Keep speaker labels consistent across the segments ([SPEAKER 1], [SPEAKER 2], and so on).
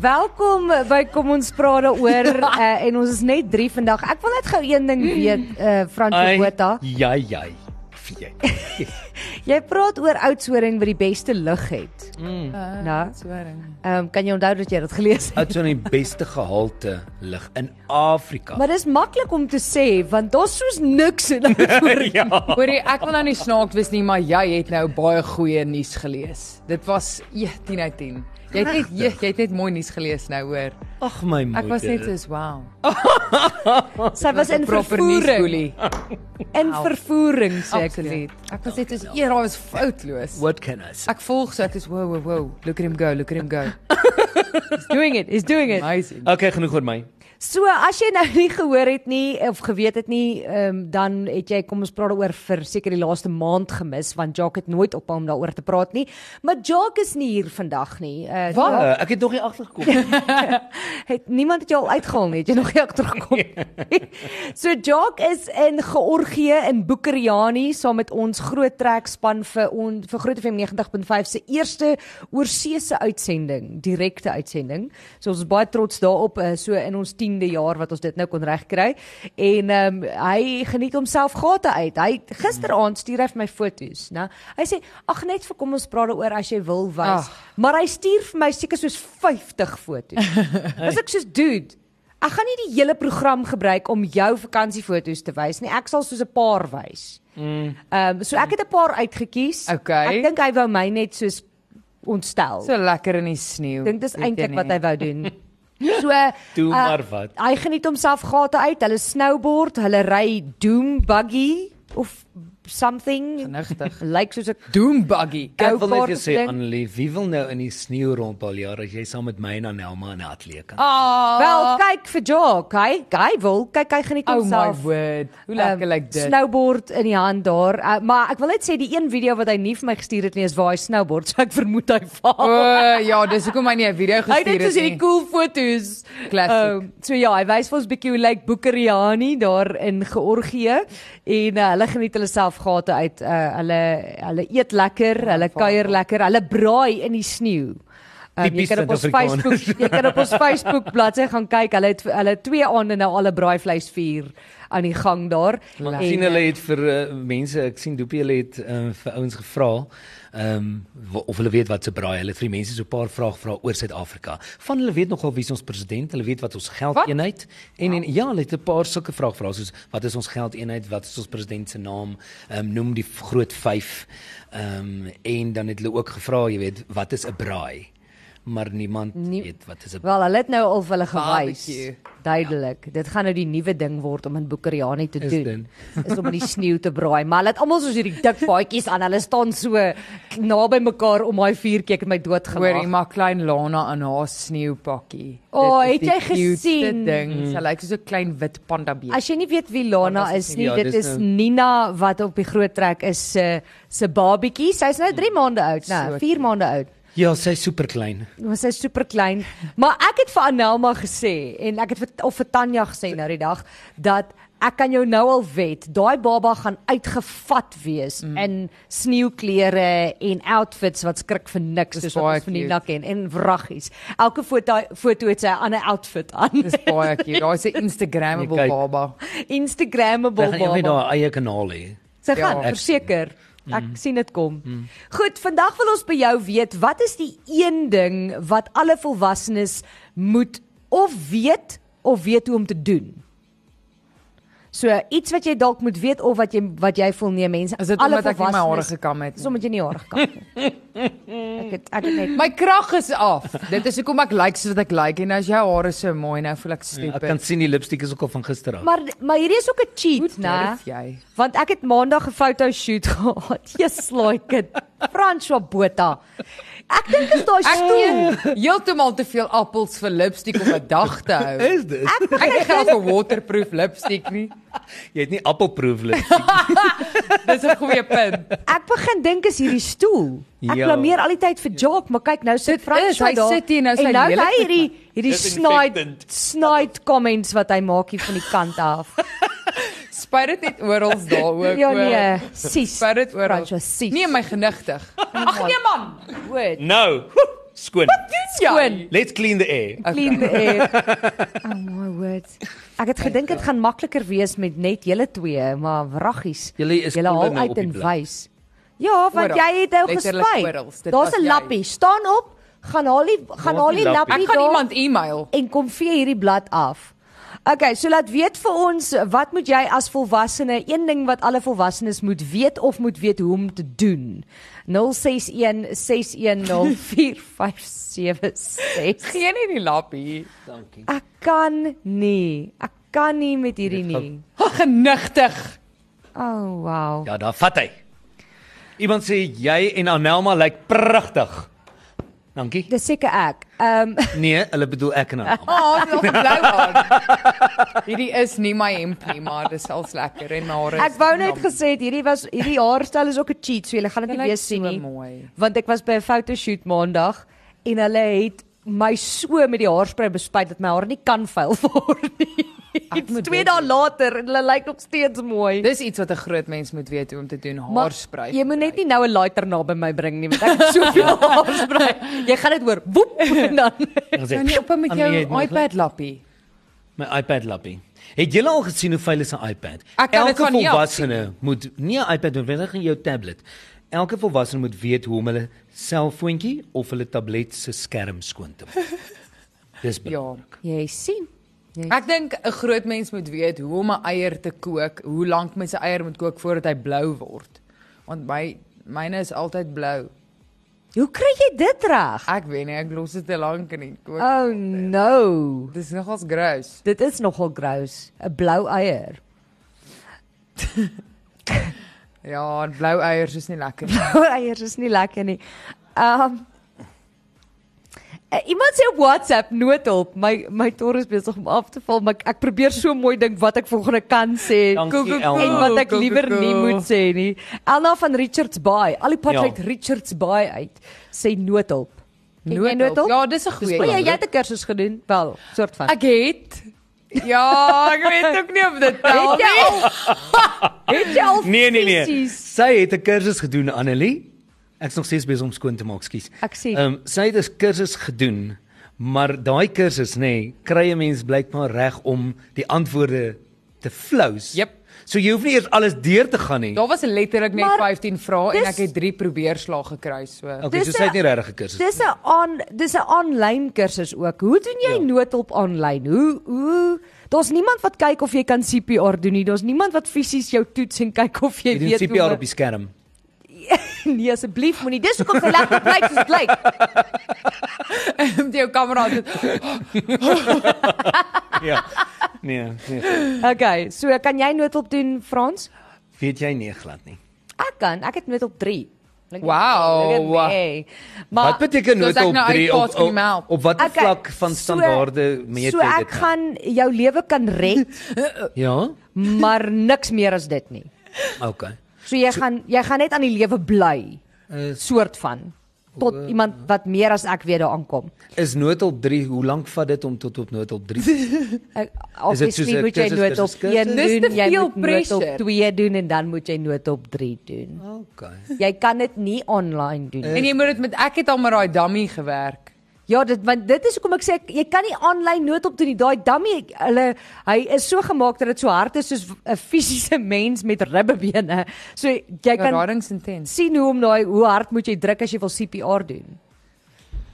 [SPEAKER 1] Welkom by Kom ons praat daaroor eh, en ons is net 3 vandag. Ek wil net gou een ding weet, eh Frankie Botha.
[SPEAKER 2] Ja, ja. Fie.
[SPEAKER 1] Jy praat oor Oudtshoorn wat die beste lig het. Nou.
[SPEAKER 3] Soring.
[SPEAKER 1] Ehm kan jy onthou dat jy dit gelees het?
[SPEAKER 2] Dit is die beste gehalte lig in Afrika.
[SPEAKER 1] Maar dis maklik om te sê want daar's soos niks in Oudtshoorn.
[SPEAKER 2] ja.
[SPEAKER 3] Hoorie, ek wil nou nie snaaks wees nie, maar jy het nou baie goeie nuus gelees. Dit was eh, 10 uit 10. Jy het net jy, jy het net mooi nues gelees nou hoor.
[SPEAKER 2] Ag my moeder.
[SPEAKER 3] Ek was net soos wow.
[SPEAKER 1] Sy was in
[SPEAKER 3] Proper nuus
[SPEAKER 1] vervoering.
[SPEAKER 3] boelie.
[SPEAKER 1] In vervoering sê ek dit.
[SPEAKER 3] Absoluut. Ek was net soos eer, hy was foutloos.
[SPEAKER 2] What can I say?
[SPEAKER 3] Ek volg so ek is wow wow wow. Look at him go, look at him go.
[SPEAKER 1] He's doing it. He's doing it.
[SPEAKER 3] Amazing.
[SPEAKER 2] Okay, genoeg oor my.
[SPEAKER 1] So as jy nou nie gehoor het nie of geweet het nie, ehm dan het jy kom ons praat daaroor vir seker die laaste maand gemis want Jacques het nooit op hom daaroor te praat nie. Maar Jacques is nie hier vandag nie. Uh,
[SPEAKER 3] Wat?
[SPEAKER 2] Uh, ek het nog nie agtergekom.
[SPEAKER 1] Het niemand het jou al uitgehaal nie? Het jy nog nie agtergekom nie? so Jacques is in Georgië in Boekeriani saam met ons groot trekspan vir on, vir Groot FM 90.5 se eerste oorseese uitsending, direkte uitsending. So ons is baie trots daarop, eh, so in ons 10de jaar wat ons dit nou kon regkry. En ehm hy geniet homself gate uit. Hy gisteraand stuur hy vir my foto's, né? Hy sê, "Ag net vir kom ons praat daaroor as jy wil wys."
[SPEAKER 3] Ag.
[SPEAKER 1] Maar hy stuur vir my seker soos 50 foto's. Was ek soos dude, ek gaan nie die hele program gebruik om jou vakansiefoto's te wys nie. Ek sal soos 'n paar wys.
[SPEAKER 3] Mm.
[SPEAKER 1] Ehm um, so ek het 'n paar uitgekies.
[SPEAKER 3] Okay.
[SPEAKER 1] Ek dink hy wou my net soos ontstel.
[SPEAKER 3] So lekker in die sneeu.
[SPEAKER 1] ek dink dis
[SPEAKER 3] Weet jy
[SPEAKER 1] eintlik
[SPEAKER 3] nie.
[SPEAKER 1] wat hy wou doen. So uh,
[SPEAKER 2] Toe
[SPEAKER 3] Ah,
[SPEAKER 2] maar wat.
[SPEAKER 1] Hy geniet homself gate uit. Hulle snowboard, hulle ry doom buggy of something.
[SPEAKER 3] genigtig.
[SPEAKER 1] Lyk soos 'n
[SPEAKER 3] Doom buggy.
[SPEAKER 1] Go
[SPEAKER 2] Ek wil net
[SPEAKER 1] kart
[SPEAKER 2] vir sê
[SPEAKER 1] ding.
[SPEAKER 2] Annelie, wie wil nou in die sneeu rondbal jaar as jy saam met my en Anelma in 'n atleet kan?
[SPEAKER 3] Ah.
[SPEAKER 1] Wel, kyk vir Jock. Hy hy wil kyk hy geniet
[SPEAKER 3] Oh my
[SPEAKER 1] homself.
[SPEAKER 3] word. Hoe lekker
[SPEAKER 1] Ehm,
[SPEAKER 3] lyk like dit?
[SPEAKER 1] Snowboard in die hand daar, uh, maar ek wil net sê die een video wat hy nie vir my gestuur het nie is waar hy snowboard, so ek vermoed hy
[SPEAKER 3] O,
[SPEAKER 1] val.
[SPEAKER 3] oh, ja, dis hoekom hy nie 'n video
[SPEAKER 1] Hy het
[SPEAKER 3] gestuur
[SPEAKER 1] net
[SPEAKER 3] het
[SPEAKER 1] so hierdie
[SPEAKER 3] nie.
[SPEAKER 1] cool foto's.
[SPEAKER 3] Classic.
[SPEAKER 1] Ehm, so ja, hy wys vir ons bietjie hoe lyk Boekeriani daar in Georgië en uh, hulle geniet hulle self gate uit. Uh, hulle hulle eet lekker,
[SPEAKER 3] Ja,
[SPEAKER 1] hulle kuier lekker, hulle braai in die sneeu. Um, jy
[SPEAKER 2] Tipies
[SPEAKER 1] kan op ons
[SPEAKER 2] Suid-Afrikaners.
[SPEAKER 1] Facebook, jy kan op ons Facebook bladsy gaan kyk. Hulle het hulle twee aande nou al 'n braaivleis vuur aan die gang daar.
[SPEAKER 2] Maar
[SPEAKER 1] En,
[SPEAKER 2] sien
[SPEAKER 1] eh,
[SPEAKER 2] hulle het vir uh, mense, ek sien Doopie hulle het uh, vir ouens gevra, ehm um, of hulle weet wat se braai. Hulle het vir die mense so 'n paar vrae gevra oor Suid-Afrika. Van hulle weet nogal wie is ons president, hulle weet wat ons geldeenheid en en ja, hulle het 'n paar sulke vrae gevra soos wat is ons geldeenheid, wat is ons president se naam, ehm um, noem die v- groot 5. Ehm um, en dan het hulle ook gevra, jy weet, wat is 'n braai? Maar niemand
[SPEAKER 1] Nie-
[SPEAKER 2] Nie weet wat is 'n
[SPEAKER 1] Wel, hulle het nou al vir hulle gewys.
[SPEAKER 3] Barbecue. Ja.
[SPEAKER 1] Duidelik. Dit gaan nou die nuwe ding word om in Boekeriani te
[SPEAKER 2] Is
[SPEAKER 1] doen. Is om in die sneeu te braai, maar hulle het almal soos hierdie dik paadjies aan. Hulle staan so k- naby mekaar om daai vuurtjie en my dood
[SPEAKER 3] Hoorie,
[SPEAKER 1] gemaak.
[SPEAKER 3] maar klein Lana aan haar sneeupakkie.
[SPEAKER 1] O, het
[SPEAKER 3] Dit is die
[SPEAKER 1] jy
[SPEAKER 3] cuteste
[SPEAKER 1] gesien?
[SPEAKER 3] Ding. Mm. Sy lyk soos 'n klein wit panda beer.
[SPEAKER 1] As jy nie weet wie Lana
[SPEAKER 3] Want as
[SPEAKER 1] is
[SPEAKER 3] dit
[SPEAKER 1] nie,
[SPEAKER 2] nie- Ja,
[SPEAKER 1] dit
[SPEAKER 2] dis
[SPEAKER 1] is
[SPEAKER 2] nou-
[SPEAKER 1] Nina wat op die groot trek is se se babietjie. Sy's nou 3 maande oud,
[SPEAKER 3] So
[SPEAKER 1] nou 4 maande oud.
[SPEAKER 2] Ja, sy's super klein.
[SPEAKER 1] Maar sy is super klein. Maar ek het vir Anelma gesê en ek het vir, of vir Tanya gesê nou die dag dat ek kan jou nou al wet. Daai baba gaan uitgevat wees mm. in sneeuklere en outfits wat skrik vir niks
[SPEAKER 3] Dis
[SPEAKER 1] soos
[SPEAKER 3] baie
[SPEAKER 1] wat ons van die
[SPEAKER 3] cute.
[SPEAKER 1] nak en en wraggies. Elke foto foto het sy 'n ander outfit aan.
[SPEAKER 3] Dis baie cute. Daar's 'n Instagrammable
[SPEAKER 2] Nee, kyk.
[SPEAKER 3] baba.
[SPEAKER 1] Instagrammable
[SPEAKER 2] Hulle gaan eendag
[SPEAKER 1] baba.
[SPEAKER 2] daai eie kanaal hê.
[SPEAKER 1] Sy
[SPEAKER 3] Ja. Mm.
[SPEAKER 1] gaan verseker. Ek sien dit kom. Goed, vandag wil ons by jou weet, wat is die een ding wat alle volwassenes moet of weet of weet hoe om te doen? So iets wat jy dalk moet weet of wat jy wat jy voel nee mense,
[SPEAKER 3] Is dit
[SPEAKER 1] alle
[SPEAKER 3] omdat ek nie my hare
[SPEAKER 1] volwassenes-
[SPEAKER 3] gekam het
[SPEAKER 1] Dis
[SPEAKER 3] nie?
[SPEAKER 1] omdat jy nie hare gekam het. nie. ek het ek het net
[SPEAKER 3] My krag is af. Dit is hoekom ek lyk like soos wat ek lyk like. en as jou hare so mooi nou voel ek
[SPEAKER 2] Mm, Ek
[SPEAKER 3] stupid.
[SPEAKER 2] kan sien die lipstik is ook al van gister af.
[SPEAKER 1] Maar maar hierdie is ook 'n
[SPEAKER 3] Hoe
[SPEAKER 1] cheat, né?
[SPEAKER 3] durf jy?
[SPEAKER 1] Want ek het maandag 'n photoshoot gehad. Jesus, like dit. François Botha. Ek dink is daai
[SPEAKER 3] Ek
[SPEAKER 1] stoel.
[SPEAKER 3] doen heeltemal te veel appels vir lipstiek om 'n dag te hou.
[SPEAKER 2] is dit?
[SPEAKER 3] Ek het nie geld vir waterproof lipstiek nie.
[SPEAKER 2] Jy het nie appelproef lipstik.
[SPEAKER 3] Dis 'n goeie punt.
[SPEAKER 1] Ek begin dink is hierdie stoel. Ek
[SPEAKER 2] Ja.
[SPEAKER 1] blameer al die tyd vir Jock, maar kyk nou sit
[SPEAKER 3] Dit
[SPEAKER 1] Frans
[SPEAKER 3] is, hy
[SPEAKER 1] daar.
[SPEAKER 3] sit hier nou, sy
[SPEAKER 1] en nou het
[SPEAKER 3] lelik
[SPEAKER 1] hy
[SPEAKER 3] met
[SPEAKER 1] hierdie hierdie snide
[SPEAKER 2] Disinfectant.
[SPEAKER 1] snide comments wat hy maak hier van die kant af.
[SPEAKER 3] Spuit dit net oral daar ook.
[SPEAKER 1] ja
[SPEAKER 3] oor.
[SPEAKER 1] nee, sies.
[SPEAKER 3] Spuit dit oral.
[SPEAKER 1] Frans, sies.
[SPEAKER 3] Nee, my genigtig. Ag nee man.
[SPEAKER 1] woord.
[SPEAKER 2] nou. skoon.
[SPEAKER 3] Ja. Skoon.
[SPEAKER 2] Let's clean the air.
[SPEAKER 1] Clean the air. Oh my word. Ek het gedink dit gaan makliker wees met net julle twee, maar wraggies.
[SPEAKER 2] Julle is
[SPEAKER 1] julle
[SPEAKER 2] kolle
[SPEAKER 1] haal
[SPEAKER 2] nou op
[SPEAKER 1] uit
[SPEAKER 2] die
[SPEAKER 1] en
[SPEAKER 2] blad.
[SPEAKER 1] wys. Ja, want
[SPEAKER 3] Oral.
[SPEAKER 1] jy het nou
[SPEAKER 3] Letterlik oral.
[SPEAKER 1] gespyt.
[SPEAKER 3] Dit
[SPEAKER 1] Daar's
[SPEAKER 3] was
[SPEAKER 1] 'n
[SPEAKER 3] jy.
[SPEAKER 1] lappie. Staan op, gaan haal die gaan
[SPEAKER 2] Daar's
[SPEAKER 1] haal
[SPEAKER 2] die
[SPEAKER 1] die
[SPEAKER 2] lappie.
[SPEAKER 1] lappie
[SPEAKER 3] Ek gaan
[SPEAKER 1] daar
[SPEAKER 3] iemand e-mail.
[SPEAKER 1] en kom vee hierdie blad af. Okay, so laat weet vir ons wat moet jy as volwassene, een ding wat alle volwassenes moet weet of moet weet hoe om te doen. 061 6104576.
[SPEAKER 3] Gee nie die lappie.
[SPEAKER 2] Dankie.
[SPEAKER 1] Ek kan nie. Ek kan nie met hierdie
[SPEAKER 2] Dit gaan-
[SPEAKER 1] nie.
[SPEAKER 3] Ag, Oh, genigtig.
[SPEAKER 1] Oh wow.
[SPEAKER 2] Ja, daar vat hy. Iemand sê jy en Anelma lyk pragtig. Dankie.
[SPEAKER 1] Dis seker ek. Ehm
[SPEAKER 2] Nee, hulle bedoel ek en Anelma.
[SPEAKER 3] Ah, oh, nog 'n blou haar. Hierdie is nie my hemp nie, maar dis als lekker en haar is.
[SPEAKER 1] ek wou net gesê het, hierdie was hierdie haarstel is ook 'n cheat, so jy gaan dit
[SPEAKER 3] Dit
[SPEAKER 1] nie
[SPEAKER 3] lyk
[SPEAKER 1] weer sien
[SPEAKER 3] so
[SPEAKER 1] nie.
[SPEAKER 3] mooi.
[SPEAKER 1] Want ek was by 'n fotoshoot maandag en hulle het my so met die haarspray bespuit dat my hare nie kan vuil word nie.
[SPEAKER 3] Ek moet
[SPEAKER 1] Twee
[SPEAKER 3] dit-
[SPEAKER 1] dae later en hulle lyk nog steeds mooi.
[SPEAKER 3] Dis iets wat 'n groot mens moet weet hoe om te doen,
[SPEAKER 1] Maar
[SPEAKER 3] haarspray.
[SPEAKER 1] Jy moet net nie nou 'n lighter na by my bring nie, want ek het soveel haarspray. Jy gaan dit hoor. Woep en dan.
[SPEAKER 3] Kan jy Nou op met jou iPad lappie?
[SPEAKER 2] My iPad lappie. Het julle al gesien hoe veilig is 'n iPad?
[SPEAKER 3] Ek kan dit
[SPEAKER 2] Elke
[SPEAKER 3] van nie af
[SPEAKER 2] volwassene moet nie 'n iPad noodwendig in jou tablet. Elke volwassene moet weet hoe om hulle selfoontjie of hulle tablet se skerm skoon te maak. Dis
[SPEAKER 3] Ja.
[SPEAKER 2] belangrik.
[SPEAKER 1] Jy sien. Jy
[SPEAKER 3] Ek dink 'n groot mens moet weet hoe om 'n eier te kook, hoe lank mens 'n eier moet kook voordat hy blou word. Want my myne is altyd blou.
[SPEAKER 1] Hoe kry jy dit reg?
[SPEAKER 3] Ek weet nie, ek los dit te lank in die kook. Uh,
[SPEAKER 1] Oh no.
[SPEAKER 3] Dis nogals gross.
[SPEAKER 1] Dit is nogal gross. 'n Blou eier.
[SPEAKER 3] Ja, en blou eiers is nie lekker nie.
[SPEAKER 1] Blou eiers is nie lekker nie. Um eh, Iemand sê op WhatsApp noodhulp. My my tor is besig om af te val, maar ek, ek probeer so mooi dink wat ek volgende kan sê
[SPEAKER 2] Dankie, Elma.
[SPEAKER 1] en wat ek
[SPEAKER 3] Koekoekoe.
[SPEAKER 1] liewer nie moet sê nie. Anna van Richards Bay, al die pad
[SPEAKER 2] Ja.
[SPEAKER 1] ja. uit Richards Bay uit, sê noodhulp. Ken jy
[SPEAKER 3] Noodhulp. Ja, dis 'n
[SPEAKER 1] O,
[SPEAKER 3] goeie.
[SPEAKER 1] ja, jy het 'n kursus gedoen, wel, soort van.
[SPEAKER 3] Ek het Ja, ek weet ook nie of dit tel
[SPEAKER 1] het
[SPEAKER 3] nie.
[SPEAKER 1] jy al Het jy al
[SPEAKER 2] Nee nee nee.
[SPEAKER 1] fisies?
[SPEAKER 2] Sy het 'n kursus gedoen Annelie. Ek's nog steeds besig om skoon te maak, skus.
[SPEAKER 1] Ek sien.
[SPEAKER 2] Ehm sy het 'n kursus gedoen, maar daai kursus nê, nee, kry 'n mens blykbaar reg om die antwoorde te flous.
[SPEAKER 3] Jep.
[SPEAKER 2] So jy hoef nie eers alles deur te gaan nie.
[SPEAKER 3] Daar was letterlik net
[SPEAKER 1] Maar
[SPEAKER 3] 15 vrae en
[SPEAKER 1] dis-
[SPEAKER 3] ek het 3 probeerslae gekry, so.
[SPEAKER 2] Okay, so
[SPEAKER 1] dis
[SPEAKER 2] sy het
[SPEAKER 1] een-
[SPEAKER 2] nie regtig 'n kursus.
[SPEAKER 1] Dis 'n on dis 'n aanlyn kursus ook. Hoe doen jy
[SPEAKER 2] Ja.
[SPEAKER 1] ja. noodhulp aanlyn? Hoe hoe daar's niemand wat kyk of jy kan CPR doen nie. Daar's niemand wat fisies jou toets en kyk of jy
[SPEAKER 2] Jy doen
[SPEAKER 1] weet
[SPEAKER 2] CPR
[SPEAKER 1] hoe-
[SPEAKER 2] op die skerm.
[SPEAKER 1] Nee asseblief moenie. Dis hoekom dit lekker blyk soos dit lyk.
[SPEAKER 3] Met jou kamera dit.
[SPEAKER 2] ja. Nee, nee.
[SPEAKER 1] Okay, so kan jy noodhulp doen Frans?
[SPEAKER 2] Weet jy nie glad nie.
[SPEAKER 1] Ek kan. Ek het noodhulp 3. Link-
[SPEAKER 3] Wow.
[SPEAKER 1] Link- Hey. Maar
[SPEAKER 2] Wat beteken
[SPEAKER 3] soos ek
[SPEAKER 2] noodhulp
[SPEAKER 3] nou
[SPEAKER 2] 3
[SPEAKER 3] uitpaas
[SPEAKER 2] op
[SPEAKER 3] kan jy my
[SPEAKER 2] op,
[SPEAKER 3] help?
[SPEAKER 2] op watter
[SPEAKER 1] okay,
[SPEAKER 2] vlak van standaarde
[SPEAKER 1] so,
[SPEAKER 2] meet
[SPEAKER 1] so
[SPEAKER 2] jy dit?
[SPEAKER 1] ek
[SPEAKER 2] nou?
[SPEAKER 1] gaan jou lewe kan red,
[SPEAKER 2] Ja.
[SPEAKER 1] maar niks meer as dit nie.
[SPEAKER 2] Okay.
[SPEAKER 1] So jy so, gaan jy gaan net aan die lewe bly.
[SPEAKER 2] Uh,
[SPEAKER 1] soort van tot
[SPEAKER 2] eh,
[SPEAKER 1] iemand wat meer as ek weet daar aankom.
[SPEAKER 2] Is noodhulp 3, hoe lank vat dit om tot op noodhulp 3 te
[SPEAKER 1] Ek Eh,
[SPEAKER 2] Is dit soos
[SPEAKER 1] obviously
[SPEAKER 2] 'n
[SPEAKER 1] moet jy
[SPEAKER 2] kursus,
[SPEAKER 1] nood op
[SPEAKER 2] kursus,
[SPEAKER 1] 1
[SPEAKER 2] kursus?
[SPEAKER 1] doen,
[SPEAKER 3] Dis te
[SPEAKER 1] jy
[SPEAKER 3] veel
[SPEAKER 1] moet nood op
[SPEAKER 3] pressure.
[SPEAKER 1] 2 doen en dan moet jy nood op 3 doen.
[SPEAKER 2] Okay.
[SPEAKER 1] Jy kan dit nie online
[SPEAKER 2] Eh.
[SPEAKER 1] doen. nie.
[SPEAKER 3] En jy moet dit met ek het al met daai dummy gewerk.
[SPEAKER 1] Ja, dit want dit is hoekom ek sê ek- jy kan nie aanlyn nood op doen nie. Daai dummy hulle hy is so gemaak dat dit so hard is soos 'n fisiese mens met ribbebene. So jy
[SPEAKER 3] Ja,
[SPEAKER 1] kan
[SPEAKER 3] Radings intens.
[SPEAKER 1] sien hoe om daai hoe hard moet jy druk as jy wil CPR doen.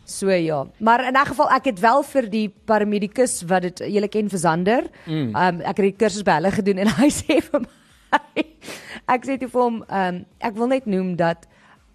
[SPEAKER 1] So ja, maar in 'n geval ek het wel vir die paramedikus wat dit julle ken Versander, mm. um, ek het die kursus by hulle gedoen en hy sê vir my ek sê toe vir hom, um, ek wil net noem dat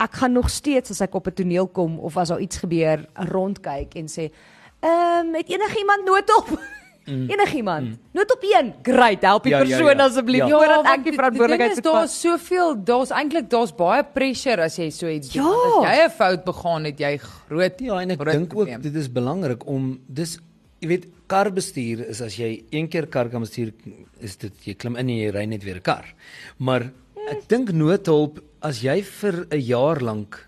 [SPEAKER 1] ek gaan nog steeds as ek op 'n toneel kom of as daar iets gebeur rondkyk en sê, "Ehm, het enigiemand noodhulp?" Mm. Enigiemand. Mm. Noodhulp 1. Great, help die
[SPEAKER 2] Ja,
[SPEAKER 1] ja,
[SPEAKER 2] ja,
[SPEAKER 1] persoon
[SPEAKER 2] ja.
[SPEAKER 1] ja, ja. asseblief
[SPEAKER 2] Ja.
[SPEAKER 1] ja, voordat
[SPEAKER 3] want
[SPEAKER 1] ek die
[SPEAKER 3] die-
[SPEAKER 1] verantwoordelikheid
[SPEAKER 3] die ding
[SPEAKER 1] moet
[SPEAKER 3] is, Daar's soveel, daar's eintlik daar's baie pressure as jy so iets doen.
[SPEAKER 1] Ja.
[SPEAKER 3] want As jy 'n fout begaan het, jy groot
[SPEAKER 2] Ja, en ek
[SPEAKER 3] groot
[SPEAKER 2] dink ook
[SPEAKER 3] probleem.
[SPEAKER 2] dit is belangrik om dis jy weet karbestuur is as jy een keer kar kan bestuur is dit jy klim in en jy ry net weer 'n kar. Maar ek dink noodhulp as jy vir 'n jaar lank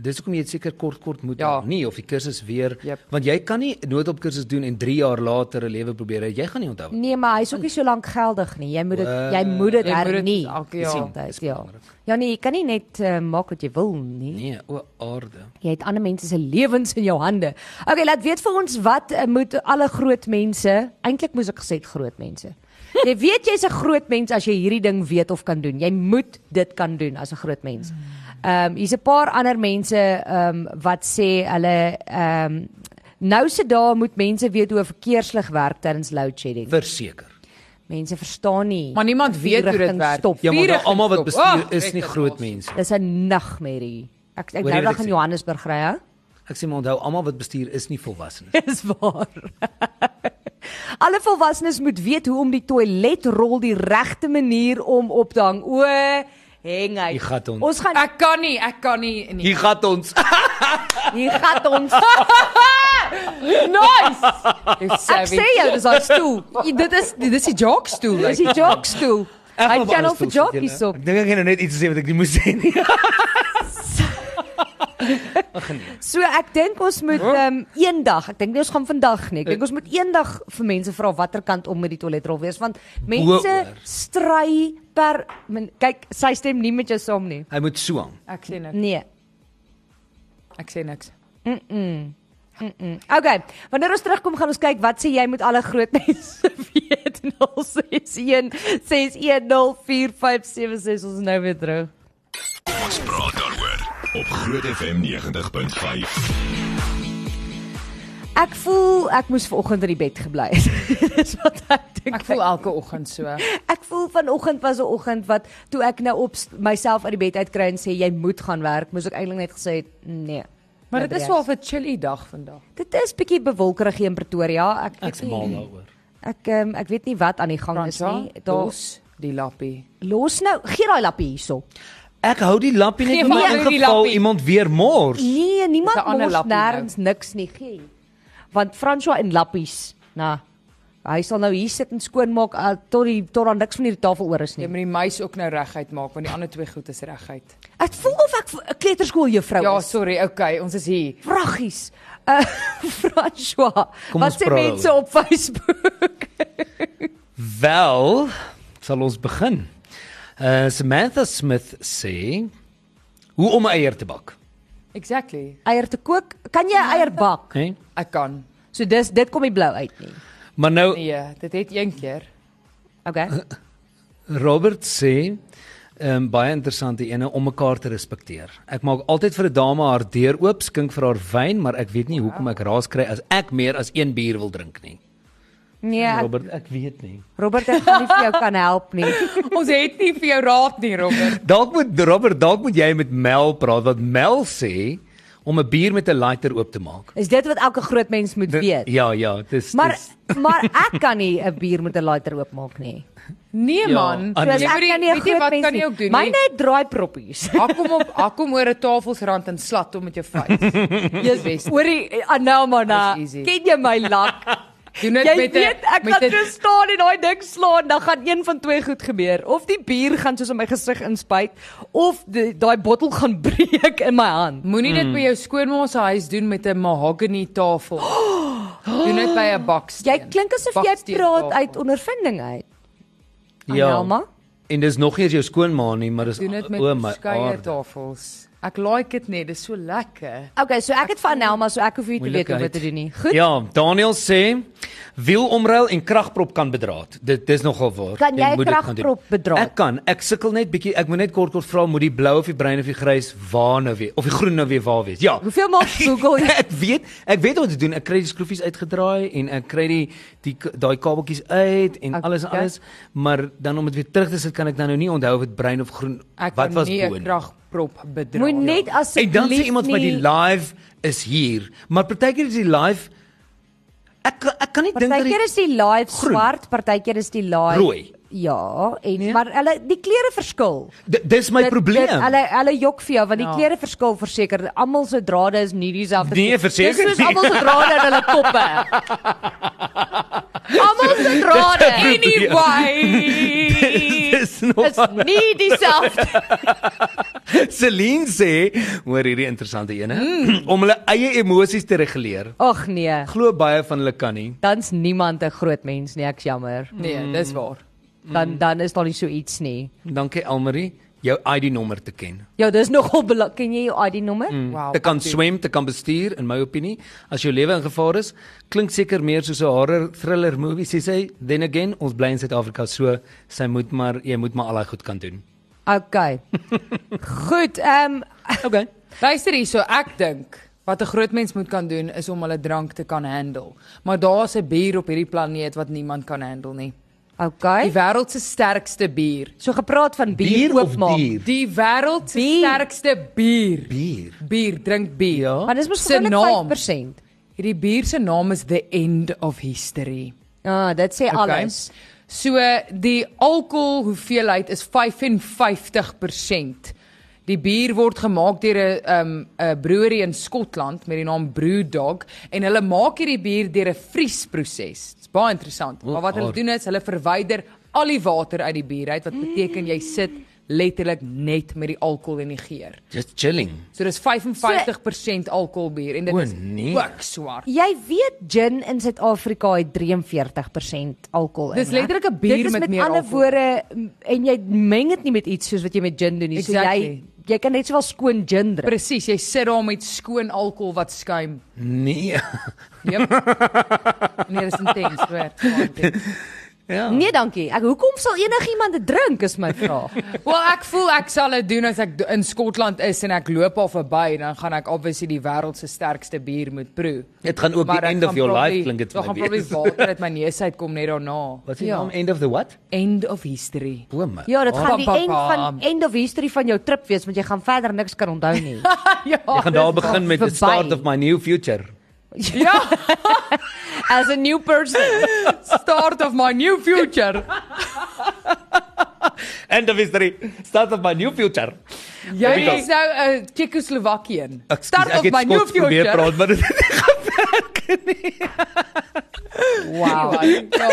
[SPEAKER 2] dis hoekom jy dit seker kort kort moet
[SPEAKER 3] Ja.
[SPEAKER 2] ja. nie of die kursus weer
[SPEAKER 3] Jep.
[SPEAKER 2] want jy kan nie 'n noodopkursus doen en 3 jaar later 'n lewe probeer hê. Jy gaan nie onthou.
[SPEAKER 1] Nee, maar hy's ook nie so lank geldig nie. Jy moet dit
[SPEAKER 2] Wel,
[SPEAKER 1] jy moet dit
[SPEAKER 3] jy moet dit
[SPEAKER 1] hernie.
[SPEAKER 3] elke jaar.
[SPEAKER 1] altyd, ja. Ja nee, jy kan nie net uh, maak wat jy wil nie.
[SPEAKER 2] Nee, o aarde.
[SPEAKER 1] Jy het ander mense se lewens in jou hande. Okay, laat weet vir ons wat uh, moet alle groot mense, eintlik moes ek gesê het groot mense. Jy weet jy's 'n groot mens as jy hierdie ding weet of kan doen. Jy moet dit kan doen as 'n groot mens. Ehm um, hier's 'n paar ander mense ehm um, wat sê hulle ehm um, nou se dae moet mense weet hoe 'n verkeerslig werk tydens load shedding.
[SPEAKER 2] Verseker.
[SPEAKER 1] Mense verstaan nie.
[SPEAKER 3] Maar niemand weet hoe dit
[SPEAKER 1] Vliegrichting
[SPEAKER 3] werk.
[SPEAKER 1] Stop.
[SPEAKER 2] Ja, maar
[SPEAKER 3] Vurig
[SPEAKER 2] daar almal wat
[SPEAKER 3] gestop.
[SPEAKER 2] bestuur
[SPEAKER 3] Ah,
[SPEAKER 2] is
[SPEAKER 3] ek
[SPEAKER 2] nie
[SPEAKER 3] het los.
[SPEAKER 2] groot mense.
[SPEAKER 1] Dis 'n nagmerrie. Ek ek
[SPEAKER 2] Hoor jy
[SPEAKER 1] nou
[SPEAKER 2] wat
[SPEAKER 1] dag
[SPEAKER 2] ek
[SPEAKER 1] in
[SPEAKER 2] sê?
[SPEAKER 1] Johannesburg ry, hè?
[SPEAKER 2] Ek sê maar onthou, almal wat bestuur is nie volwassenes.
[SPEAKER 1] Dis waar. Alle volwassenes moet weet hoe om die toiletrol die regte manier om op te hang. O, hang
[SPEAKER 2] Hier
[SPEAKER 1] uit.
[SPEAKER 2] gaan ons.
[SPEAKER 1] Ons gaan
[SPEAKER 3] Ek kan nie, ek kan nie nie.
[SPEAKER 2] Hier gaan ons.
[SPEAKER 1] hier gaan ons.
[SPEAKER 3] Nice.
[SPEAKER 1] Ek sê jou, dis daai stoel.
[SPEAKER 3] dit is dit is die joke stoel.
[SPEAKER 1] Dis
[SPEAKER 3] Like.
[SPEAKER 1] die jokes toe.
[SPEAKER 2] Ek
[SPEAKER 1] Hy
[SPEAKER 2] wil op
[SPEAKER 1] kan
[SPEAKER 2] ander
[SPEAKER 1] al vir
[SPEAKER 2] stoel sit, julle.
[SPEAKER 1] jokes op.
[SPEAKER 2] Ek dink ek het nou net iets gesê wat ek nie moes sê nie.
[SPEAKER 1] So ek dink ons moet ehm um, eendag, ek dink nie ons gaan vandag nie. Ek dink ons moet eendag vir mense vra watter kant om met die toiletrol wees want mense
[SPEAKER 2] oor.
[SPEAKER 1] stry per min, kyk, sy stem nie met jou saam nie.
[SPEAKER 2] Hy moet so hang.
[SPEAKER 3] Ek sê niks.
[SPEAKER 1] Nee.
[SPEAKER 3] Ek sê niks.
[SPEAKER 1] Okay, wanneer ons terugkom gaan ons kyk wat sê jy met alle groot mense weet 061 6104576 ons is nou weer terug.
[SPEAKER 4] Ons praat daaroor op Groot FM 90.5.
[SPEAKER 1] Ek voel ek moes vanoggend in die bed gebly het. Dis wat ek dink.
[SPEAKER 3] Ek voel elke oggend so.
[SPEAKER 1] Ek voel vanoggend was 'n oggend wat toe ek nou op myself uit die bed uitkry en sê jy moet gaan werk, moes ek eintlik net gesê het nee.
[SPEAKER 3] Maar dit is
[SPEAKER 1] wel
[SPEAKER 3] wel 'n chilly dag vandag.
[SPEAKER 1] dit is bietjie bewolkerig hier in Pretoria. Ek
[SPEAKER 2] Ek's
[SPEAKER 1] weet nie-
[SPEAKER 2] mal daaroor.
[SPEAKER 1] Ek um, ek weet nie wat aan die gang is nie. Daar
[SPEAKER 3] Daar's die lappie.
[SPEAKER 1] los nou, gee daai lappie hierso.
[SPEAKER 2] Ek hou die lampie net
[SPEAKER 3] Geef
[SPEAKER 2] in my
[SPEAKER 3] my ou die
[SPEAKER 2] ingeval
[SPEAKER 3] lappie.
[SPEAKER 2] iemand weer mors.
[SPEAKER 1] Nee,
[SPEAKER 3] Dis
[SPEAKER 1] niemand
[SPEAKER 3] 'n ander
[SPEAKER 1] mors
[SPEAKER 3] lappie nou.
[SPEAKER 1] nêrens niks nie, gee. hier. Want François en lappies, na. Hy sal nou hier sit en skoonmaak uh, tot die tot daar niks van hierdie tafel oor is
[SPEAKER 3] Jy
[SPEAKER 1] nie.
[SPEAKER 3] moet die muis ook nou reguit maak want die ander twee goed is reguit.
[SPEAKER 1] Ek voel of ek v- 'n kleuterskooljuffrou
[SPEAKER 3] Ja,
[SPEAKER 1] is.
[SPEAKER 3] sorry. Okay, ons is hier.
[SPEAKER 1] Vraggies. Uh François,
[SPEAKER 2] Kom
[SPEAKER 1] wat
[SPEAKER 2] ons
[SPEAKER 1] sê
[SPEAKER 2] praat
[SPEAKER 1] mense op Facebook?
[SPEAKER 2] Wel, sal ons begin. Uh Samantha Smith sê hoe om 'n eier te bak.
[SPEAKER 3] Exactly.
[SPEAKER 1] Eier te kook, kan jy eier bak?
[SPEAKER 2] Hè?
[SPEAKER 3] Ek kan.
[SPEAKER 1] So dis dit kom nie blou uit nie.
[SPEAKER 2] Maar nou
[SPEAKER 3] Nee, dit het een keer.
[SPEAKER 1] Okay.
[SPEAKER 2] Robert sê ehm um, baie interessante ene om mekaar te respekteer. Ek maak altyd vir 'n dame haar deur oop, skink vir haar wyn, maar ek weet nie hoekom ek raas kry as ek meer as een bier wil drink nie.
[SPEAKER 1] Nee, ek,
[SPEAKER 2] Robert, ek weet nie.
[SPEAKER 1] Robert ek gaan nie vir jou kan help nie.
[SPEAKER 3] Ons het nie vir jou raad nie, Robert.
[SPEAKER 2] Dalk moet Robert, dalk moet jy met Mel praat wat Mel sê om 'n bier met 'n lighter oop te maak.
[SPEAKER 1] Is dit wat elke groot mens moet
[SPEAKER 2] Dit-
[SPEAKER 1] weet?
[SPEAKER 2] Ja, ja, dis
[SPEAKER 1] Maar
[SPEAKER 2] dis,
[SPEAKER 1] maar ek kan nie 'n bier met 'n lighter oopmaak nie.
[SPEAKER 3] Nee
[SPEAKER 2] Ja,
[SPEAKER 3] man.
[SPEAKER 2] Ah,
[SPEAKER 1] So as
[SPEAKER 2] nee.
[SPEAKER 1] ek kan nie 'n
[SPEAKER 3] weet jy
[SPEAKER 1] groot
[SPEAKER 3] wat
[SPEAKER 1] mens
[SPEAKER 3] kan jy ook doen?
[SPEAKER 1] Myne
[SPEAKER 3] Myne
[SPEAKER 1] het draai proppies.
[SPEAKER 3] Hak hom op, hak hom oor 'n tafelsrand en slat hom met jou vuis. Dis bes.
[SPEAKER 1] Hoor jy Anamana,
[SPEAKER 3] Dis easy.
[SPEAKER 1] ken jy my lak?
[SPEAKER 3] Doen dit
[SPEAKER 1] Jy
[SPEAKER 3] met 'n
[SPEAKER 1] weet ek
[SPEAKER 3] met
[SPEAKER 1] kan
[SPEAKER 3] 'n-
[SPEAKER 1] so staan en daai ding slaan, dan gaan een van twee goed gebeur. Of die bier gaan soos in my gesig inspuit of die- daai bottel gaan breek in my hand.
[SPEAKER 3] Moenie dit
[SPEAKER 2] Mm.
[SPEAKER 3] by jou skoonma se huis doen met 'n mahogany tafel. doen dit by 'n baksteen.
[SPEAKER 1] Jy klink asof jy praat uit ondervinding uit.
[SPEAKER 2] Ja.
[SPEAKER 1] Anelma?
[SPEAKER 2] En dis nog nie eens jou skoonma nie, maar dis
[SPEAKER 3] Doen dit met
[SPEAKER 2] o my
[SPEAKER 3] verskeie
[SPEAKER 2] aarde.
[SPEAKER 3] tafels. Ek like dit net, dis so lekker.
[SPEAKER 1] Okay, so ek het van Anelma, so ek hoef nie te weet hoe om dit
[SPEAKER 2] Moeilikheid.
[SPEAKER 1] te doen nie. Goed.
[SPEAKER 2] Ja, Daniel sê wielomruil en kragprop kan bedraad. Dit dis nogal waar.
[SPEAKER 1] Kan jy
[SPEAKER 2] moet dit gaan
[SPEAKER 1] kragprop
[SPEAKER 2] doen.
[SPEAKER 1] bedraad?
[SPEAKER 2] Ek kan. Ek sukkel net bietjie. Ek moet net kort kort vra moet die blou of die bruin of die grys waar nou weer of die groen nou weer waar wees. Ja.
[SPEAKER 1] Hoeveel maal Google jy?
[SPEAKER 2] ek weet, ek weet wat te doen. Ek kry die skroefies uitgedraai en ek kry die die k- daai kabeltjies uit en
[SPEAKER 3] Ek-
[SPEAKER 2] okay. alles en alles, maar dan om dit weer terug te sit kan ek dan nou nie onthou of dit bruin of groen
[SPEAKER 3] Ek
[SPEAKER 2] wat
[SPEAKER 3] kan
[SPEAKER 2] was
[SPEAKER 3] nie 'n
[SPEAKER 2] bo.
[SPEAKER 3] kragprop bedra.
[SPEAKER 1] Moet net
[SPEAKER 2] En
[SPEAKER 1] asseblief
[SPEAKER 2] dan sê iemand vir die
[SPEAKER 1] nie-
[SPEAKER 2] live is hier, maar partykeer is die live ek kan- ek kan nie dink dat
[SPEAKER 1] Partykeer
[SPEAKER 2] die
[SPEAKER 1] is die live
[SPEAKER 2] Groen.
[SPEAKER 1] swart, partykeer is die live
[SPEAKER 2] Rooi.
[SPEAKER 1] Ja, en nee? maar hulle die kleure verskil.
[SPEAKER 2] D- dis my
[SPEAKER 1] Dit- dit-
[SPEAKER 2] probleem.
[SPEAKER 1] Hulle hulle jok vir jou want die
[SPEAKER 3] Ja.
[SPEAKER 1] klere verskil verseker. Almal se drade is nie dieselfde.
[SPEAKER 2] Nee, verseker
[SPEAKER 1] Dis soos
[SPEAKER 2] nie.
[SPEAKER 1] almal se drade in hulle koppe. Almal se drade
[SPEAKER 3] anyway.
[SPEAKER 2] Dis nog
[SPEAKER 1] is nie dieselfde.
[SPEAKER 2] Celine sê, hoor hierdie interessante ene,
[SPEAKER 1] Hmm.
[SPEAKER 2] om hulle eie emosies te reguleer.
[SPEAKER 1] Ag nee,
[SPEAKER 2] Glo baie van hulle kan nie.
[SPEAKER 1] dan's niemand 'n groot mens nie, ek's jammer.
[SPEAKER 3] Nee,
[SPEAKER 2] Mm.
[SPEAKER 3] dis waar.
[SPEAKER 1] Dan dan is daar nie so iets nie.
[SPEAKER 2] Dankie Elmarie, jou ID nommer te ken.
[SPEAKER 1] Ja, dis nogal belak. Ken jy jou ID nommer? Mm.
[SPEAKER 3] Wow.
[SPEAKER 2] te kan
[SPEAKER 3] aktief.
[SPEAKER 2] swem, te kan bestuur in my opinie. As jou lewe in gevaar is, klink seker meer soos 'n horror thriller movie, sê sy. Then again, ons bly in Suid-Afrika, so sy moet maar jy moet maar al daai goed kan doen.
[SPEAKER 1] Okay. Goed, ehm um,
[SPEAKER 2] Okay.
[SPEAKER 3] Luister hierso, ek dink wat 'n groot mens moet kan doen is om hulle drank te kan handle. Maar daar's 'n bier op hierdie planeet wat niemand kan handle nie. Die
[SPEAKER 1] okay.
[SPEAKER 3] wêreld se sterkste bier.
[SPEAKER 1] So gepraat van bier,
[SPEAKER 2] Bier of
[SPEAKER 1] oopmaak.
[SPEAKER 2] dier?
[SPEAKER 3] Die wêreld se
[SPEAKER 1] Bier.
[SPEAKER 3] sterkste bier.
[SPEAKER 2] Bier.
[SPEAKER 3] Bier, drink bier.
[SPEAKER 2] Ja.
[SPEAKER 1] Maar dis mos
[SPEAKER 3] Se naam.
[SPEAKER 1] gewoonlik 5%.
[SPEAKER 3] Hierdie bier se naam is The End of History.
[SPEAKER 1] Ja, ah, dit sê
[SPEAKER 3] Okay.
[SPEAKER 1] alles.
[SPEAKER 3] So die alkohol hoeveelheid is 55%. Die bier word gemaak deur 'n um 'n brewery in Skotland met die naam Brewdog en hulle maak hierdie bier deur 'n vriesproses. Dit's baie interessant.
[SPEAKER 2] O,
[SPEAKER 3] Maar wat hulle
[SPEAKER 2] aard.
[SPEAKER 3] doen is hulle verwyder al die water uit die bier uit wat beteken jy sit letterlik net met die alkohol en die geur.
[SPEAKER 2] Just chilling.
[SPEAKER 3] So dis 55% alkoholbier en dit
[SPEAKER 2] O,
[SPEAKER 3] is
[SPEAKER 2] nee.
[SPEAKER 3] ook swart.
[SPEAKER 1] Jy weet gin in Suid-Afrika het 43% alkohol in.
[SPEAKER 3] Dis
[SPEAKER 1] hè?
[SPEAKER 3] letterlik 'n bier
[SPEAKER 1] Dit is
[SPEAKER 3] met
[SPEAKER 1] met
[SPEAKER 3] meer
[SPEAKER 1] ander
[SPEAKER 3] alkohol.
[SPEAKER 1] woorde m- en jy meng dit nie met iets soos wat jy met gin doen nie. So
[SPEAKER 3] Exactly.
[SPEAKER 1] jy jy kan net sowel skoon gin drink.
[SPEAKER 3] Presies, jy sit daar met skoon alkohol wat skuim.
[SPEAKER 2] Nee.
[SPEAKER 3] Jep. Nee, dis intens, hoor.
[SPEAKER 2] ja.
[SPEAKER 1] Nee, dankie. Ek hoekom sal enigiemand dit drink is my vraag.
[SPEAKER 3] Wel, ek voel ek sal dit doen as ek do- in Skotland is en ek loop al verby, dan gaan ek obviously die wêreld se sterkste bier moet proe.
[SPEAKER 2] Dit gaan ook die end of your life klink dit
[SPEAKER 3] vir my. Gaan
[SPEAKER 2] vir my
[SPEAKER 3] probably
[SPEAKER 2] wees.
[SPEAKER 3] water uit my neus uitkom net daarna.
[SPEAKER 2] Wat is die
[SPEAKER 1] Ja.
[SPEAKER 2] naam end of the what?
[SPEAKER 3] End of history.
[SPEAKER 2] O my.
[SPEAKER 1] Ja, dit gaan die
[SPEAKER 3] Bam, bam,
[SPEAKER 1] eind van
[SPEAKER 3] bam.
[SPEAKER 1] end of history van jou trip wees want jy gaan verder niks kan onthou nie.
[SPEAKER 3] ja.
[SPEAKER 2] Ek gaan daar begin met the
[SPEAKER 1] verby.
[SPEAKER 2] start of my new future.
[SPEAKER 3] Ja,
[SPEAKER 1] As a new person.
[SPEAKER 3] start of my new future.
[SPEAKER 2] End of history. Start of my new future.
[SPEAKER 3] Jy
[SPEAKER 2] Here we go.
[SPEAKER 3] is nou 'n uh, Tsjekoslowakian.
[SPEAKER 2] Ja, Excuse,
[SPEAKER 3] Start
[SPEAKER 2] ek
[SPEAKER 3] of
[SPEAKER 2] het
[SPEAKER 3] my new
[SPEAKER 2] Skots
[SPEAKER 3] future.
[SPEAKER 2] probeer praat, maar dit
[SPEAKER 3] Wow. Ja.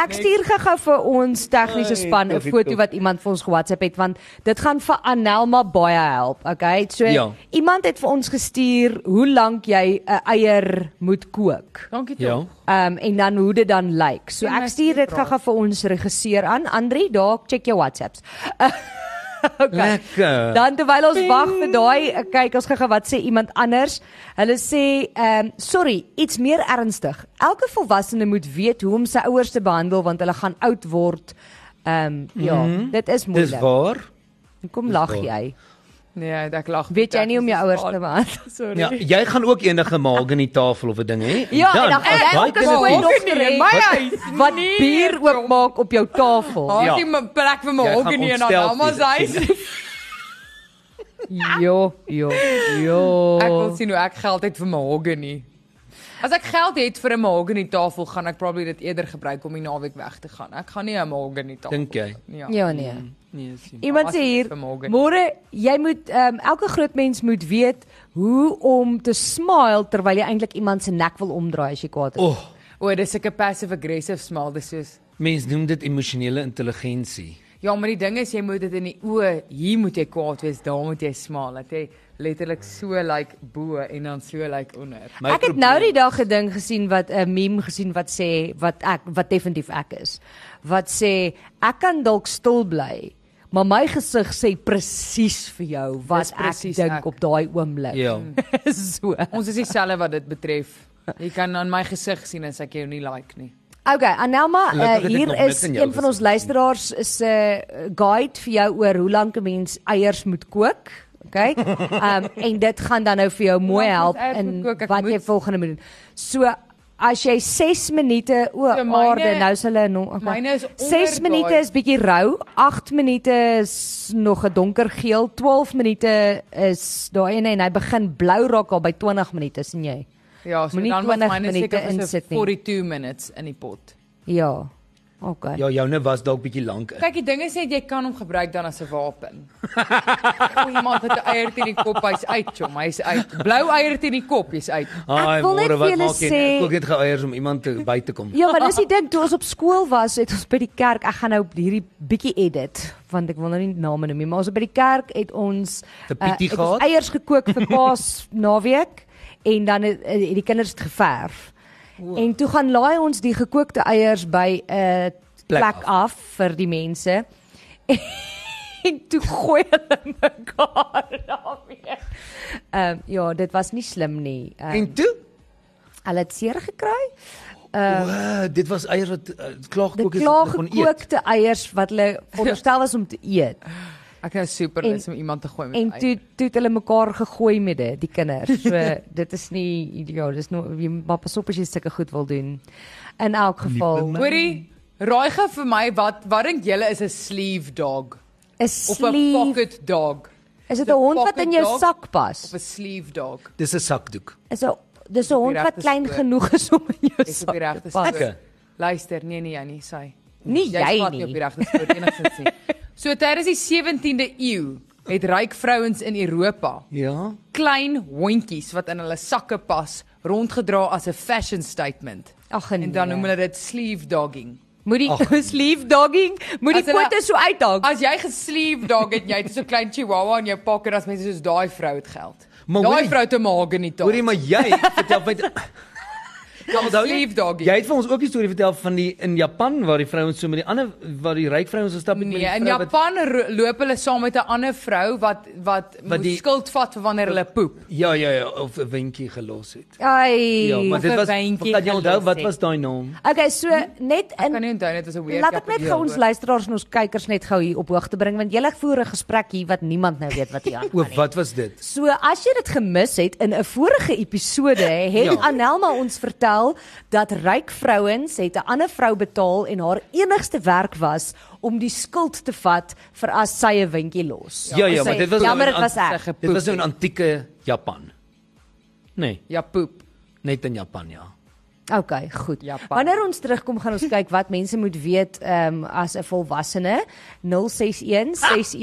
[SPEAKER 1] Ek stuur gou-gou vir ons tegniese span 'n
[SPEAKER 2] Toffie,
[SPEAKER 1] foto
[SPEAKER 2] Toffie.
[SPEAKER 1] wat iemand vir ons ge-WhatsApp het want dit gaan vir Anelma baie help. Okay, so
[SPEAKER 2] Ja.
[SPEAKER 1] iemand het vir ons gestuur hoe lank jy 'n eier moet kook.
[SPEAKER 3] Dankie tog.
[SPEAKER 2] Ja.
[SPEAKER 1] Ehm um, en dan hoe dit dan lyk. Like. So
[SPEAKER 3] Jy
[SPEAKER 1] ek
[SPEAKER 3] mis
[SPEAKER 1] stuur
[SPEAKER 3] die
[SPEAKER 1] dit gou-gou vir ons regisseur aan. Andri, daar check jou WhatsApps. okay.
[SPEAKER 2] Lekker.
[SPEAKER 1] Dan terwyl ons wag vir daai eh, kyk ons gou wat sê iemand anders. Hulle sê ehm um, sorry, iets meer ernstig. Elke volwassene moet weet hoe om sy ouers te behandel want hulle gaan oud word. Ehm um, ja, mm -hmm. dit is
[SPEAKER 2] Mhm. Dis
[SPEAKER 1] moeilik.
[SPEAKER 2] waar.
[SPEAKER 1] Kom lag
[SPEAKER 2] waar.
[SPEAKER 1] jy.
[SPEAKER 3] Nee, ek lag.
[SPEAKER 1] Weet jy nie om jou ouers te
[SPEAKER 3] Sorry.
[SPEAKER 1] behandel?
[SPEAKER 2] Ja, jy gaan ook enige maag in die tafel of 'n ding hê.
[SPEAKER 1] Ja, en dan
[SPEAKER 2] as
[SPEAKER 1] gaan jy
[SPEAKER 2] daai
[SPEAKER 1] ook 'n
[SPEAKER 2] kinders-
[SPEAKER 1] skoon
[SPEAKER 3] kinders-
[SPEAKER 1] dokter hê
[SPEAKER 3] Nee, my
[SPEAKER 1] wat-
[SPEAKER 3] huis.
[SPEAKER 1] wat
[SPEAKER 3] Nee,
[SPEAKER 1] bier oopmaak op jou tafel.
[SPEAKER 3] Haat
[SPEAKER 2] Ja.
[SPEAKER 3] ja. nie my plek vir my
[SPEAKER 2] Jy gaan
[SPEAKER 3] hokkie nie en dan
[SPEAKER 2] ontstel
[SPEAKER 3] almal se
[SPEAKER 2] wees.
[SPEAKER 3] huis.
[SPEAKER 1] Jo, jo, jo.
[SPEAKER 3] Ek wil sien hoe ek geld het vir my hokkie nie. As ek geld het vir 'n mahogany tafel, gaan ek probably dit eerder gebruik om die naweek weg te gaan. Ek gaan nie 'n mahogany tafel.
[SPEAKER 2] Dink jy?
[SPEAKER 3] Ja.
[SPEAKER 1] Ja nee.
[SPEAKER 2] Nee, sien.
[SPEAKER 1] Iemand sê hier,
[SPEAKER 3] Alsjeblief, vanmorgen.
[SPEAKER 1] môre jy moet um, elke groot mens moet weet hoe om te smile terwyl jy eintlik iemand se nek wil omdraai as jy kwaad is.
[SPEAKER 2] O, oh,
[SPEAKER 3] O, dis ek 'n passive aggressive smile, dis soos
[SPEAKER 2] mens noem dit emosionele intelligensie.
[SPEAKER 3] Ja, maar die ding is jy moet dit in die oë, hier moet jy kwaad wees, daar moet jy smile. Dat jy letterlik so like bo en dan so like onder.
[SPEAKER 2] My
[SPEAKER 1] ek het nou die dag 'n ding gesien wat 'n meme gesien wat sê wat ek wat definitief ek is. Wat sê ek kan dalk stil bly, maar my gesig sê presies vir jou wat
[SPEAKER 3] Dis
[SPEAKER 1] ek
[SPEAKER 3] presies
[SPEAKER 1] dink
[SPEAKER 3] ek.
[SPEAKER 1] op daai oomblik.
[SPEAKER 2] Ja.
[SPEAKER 1] so.
[SPEAKER 3] Ons is dieselfde wat dit betref. Jy kan aan my gesig sien as ek jou nie like nie.
[SPEAKER 1] Okay, Anelma, uh,
[SPEAKER 2] Gelukkig het ek
[SPEAKER 1] hier
[SPEAKER 2] nog niks
[SPEAKER 1] is
[SPEAKER 2] in jou
[SPEAKER 1] een van ons
[SPEAKER 2] gesit nie.
[SPEAKER 1] luisteraars is 'n uh, guide vir jou oor hoe lank 'n mens eiers moet kook. Okay. Um, en dit gaan dan nou vir jou mooi
[SPEAKER 3] lank
[SPEAKER 1] help
[SPEAKER 3] moet eiers
[SPEAKER 1] in
[SPEAKER 3] moet kook? Ek
[SPEAKER 1] wat jy
[SPEAKER 3] moet-
[SPEAKER 1] volgende moet doen. So as jy 6 minute o
[SPEAKER 3] So, myne-
[SPEAKER 1] aarde nou is hulle nog okay.
[SPEAKER 3] myne is onder
[SPEAKER 1] 6 minute
[SPEAKER 3] daai.
[SPEAKER 1] is bietjie rou, 8 minute is nog 'n donker geel, 12 minute is daai een en hy begin blou raak al by 20 minute sien jy.
[SPEAKER 3] Ja, so
[SPEAKER 1] Moenie
[SPEAKER 3] dan was
[SPEAKER 1] 20
[SPEAKER 3] myne
[SPEAKER 1] minute
[SPEAKER 3] seker vir so
[SPEAKER 1] insit nie.
[SPEAKER 3] 42 minutes in die pot.
[SPEAKER 1] Ja. Okay.
[SPEAKER 2] Ja, joune was dalk bietjie lank in.
[SPEAKER 3] Kyk, die ding is net jy kan hom gebruik dan as 'n wapen. Gooi iemand met 'n eier teen die kop, hy's uit, chom, hy's uit. Blou eier teen die kop, jy's uit.
[SPEAKER 1] Ek wil net
[SPEAKER 2] môre,
[SPEAKER 1] vir
[SPEAKER 2] wat
[SPEAKER 1] julle
[SPEAKER 2] maak jy?
[SPEAKER 1] sê-
[SPEAKER 2] Ek kook net geëiers om iemand te by te kom.
[SPEAKER 1] Ja, maar dis die ding toe ons op skool was, het ons by die kerk, ek gaan nou hierdie bietjie edit want ek wil nou nie name noem nie, maar ons het by die kerk het ons
[SPEAKER 2] Te
[SPEAKER 1] eh,
[SPEAKER 2] pietie
[SPEAKER 1] het ons
[SPEAKER 2] gehad?
[SPEAKER 1] eiers gekook vir kaas naweek en dan het, eh, het die kinders dit geverf. En toe gaan laai ons die gekookte eiers by 'n uh,
[SPEAKER 2] Plek
[SPEAKER 1] plek af. af vir die mense. En toe gooi hulle mekaar daarmee. Ehm um, ja, dit was nie slim nie. Um,
[SPEAKER 2] En toe,
[SPEAKER 1] hulle het seer gekry.
[SPEAKER 2] wow, dit was eiers wat uh, klaar
[SPEAKER 1] Eh, Die
[SPEAKER 2] gekook is
[SPEAKER 1] klaar
[SPEAKER 2] wat hulle kon eet.
[SPEAKER 1] gekookte eiers wat hulle
[SPEAKER 3] Ja.
[SPEAKER 1] veronderstel was om te eet.
[SPEAKER 3] Ek nou super
[SPEAKER 1] En-
[SPEAKER 3] lus om iemand te gooi met
[SPEAKER 1] En
[SPEAKER 3] eier.
[SPEAKER 1] toe toe het hulle mekaar gegooi met dit, die kinders. So dit is nie ideaal, dis nou jy moet maar pas op as jy sulke goed wil doen. In elk geval
[SPEAKER 3] Hoorie, raai gou vir my wat wat dink julle is 'n sleeve dog
[SPEAKER 1] is
[SPEAKER 3] of 'n
[SPEAKER 1] sleeve.
[SPEAKER 3] pocket dog?
[SPEAKER 1] Is dit
[SPEAKER 3] is
[SPEAKER 1] 'n
[SPEAKER 3] een
[SPEAKER 1] hond wat in jou
[SPEAKER 3] pocket dog
[SPEAKER 1] sak pas?
[SPEAKER 3] Of 'n sleeve dog?
[SPEAKER 2] Dis 'n sakdoek.
[SPEAKER 1] Is 'n dis 'n hond wat
[SPEAKER 3] regte
[SPEAKER 1] klein
[SPEAKER 3] spoor.
[SPEAKER 1] genoeg is om in jou
[SPEAKER 3] Dis op die
[SPEAKER 1] sak te
[SPEAKER 3] regte
[SPEAKER 1] pas.
[SPEAKER 2] Ek-
[SPEAKER 3] spoor. Luister, nee nee, jy nie, sy.
[SPEAKER 1] Nie jy
[SPEAKER 3] vat
[SPEAKER 1] nie.
[SPEAKER 3] op die regte spoor enigstens nie. So tydens die 17de eeu het ryk vrouens in Europa
[SPEAKER 2] Ja.
[SPEAKER 3] klein hondjies wat in hulle sakke pas rondgedra as 'n fashion statement.
[SPEAKER 1] Ag nee.
[SPEAKER 3] En dan noem hulle dit sleeve dogging.
[SPEAKER 1] moet
[SPEAKER 2] Ag,
[SPEAKER 1] die sleeve dogging, moet die
[SPEAKER 3] As hulle-
[SPEAKER 1] kote so uithaal.
[SPEAKER 3] As jy gesleeve dog het, jy het so klein chihuahua in jou pocket as mense soos daai vrou het geld.
[SPEAKER 2] Maar
[SPEAKER 3] Daai
[SPEAKER 2] hoorie-
[SPEAKER 3] vrou te maak in die taal.
[SPEAKER 2] Hoorie, maar jy vertel my Ja, onthou jy-
[SPEAKER 3] Sleeve doggy.
[SPEAKER 2] Jy het vir ons ook die storie vertel van die in Japan waar die vrouens so met die ander waar die ryk vrouens gestap het met
[SPEAKER 3] Nee,
[SPEAKER 2] die
[SPEAKER 3] in
[SPEAKER 2] vrou wat-
[SPEAKER 3] Japan ro- loop hulle saam met 'n ander vrou wat wat, wat
[SPEAKER 2] die-
[SPEAKER 3] die, skuld vat vir wanneer hulle poep.
[SPEAKER 2] Ja, ja, ja, of 'n windjie gelos het.
[SPEAKER 1] Ai.
[SPEAKER 2] Ja, maar dit
[SPEAKER 3] Of 'n
[SPEAKER 2] was
[SPEAKER 3] windjie
[SPEAKER 2] kan jy onthou
[SPEAKER 3] gelos
[SPEAKER 2] wat
[SPEAKER 3] het.
[SPEAKER 2] was daai naam?
[SPEAKER 1] Okay, so
[SPEAKER 3] Hmm?
[SPEAKER 1] net
[SPEAKER 3] Ek kan
[SPEAKER 1] in
[SPEAKER 3] nie onthou net as 'n weird.
[SPEAKER 1] Laat ek net
[SPEAKER 3] Japanese
[SPEAKER 1] gou ons
[SPEAKER 3] woord.
[SPEAKER 1] luisteraars en ons kykers net gou hier op hoogte bring want julle voer 'n gesprek hier wat niemand nou weet wat hier
[SPEAKER 2] O,
[SPEAKER 1] aangaan nie.
[SPEAKER 2] wat was dit?
[SPEAKER 1] So as jy dit gemis het in 'n vorige episode het ja.
[SPEAKER 2] Ja.
[SPEAKER 1] Anelma ons vertel dat ryk vrouens het 'n ander vrou betaal en haar enigste werk was om die skuld te vat vir as sy 'n windjie los.
[SPEAKER 2] Ja, ja,
[SPEAKER 1] Sy-
[SPEAKER 2] maar dit was nou
[SPEAKER 1] jammer
[SPEAKER 2] in
[SPEAKER 1] dit was
[SPEAKER 2] an-
[SPEAKER 1] ek.
[SPEAKER 3] sy
[SPEAKER 2] Dit was
[SPEAKER 3] gepoep
[SPEAKER 2] nou in antieke Japan. Nee,
[SPEAKER 3] Ja, poep.
[SPEAKER 2] net in Japan, ja.
[SPEAKER 1] Okay, goed.
[SPEAKER 3] Japan.
[SPEAKER 1] Wanneer ons terugkom gaan ons kyk wat mense moet weet ehm um, as 'n volwassene. 061 6104576.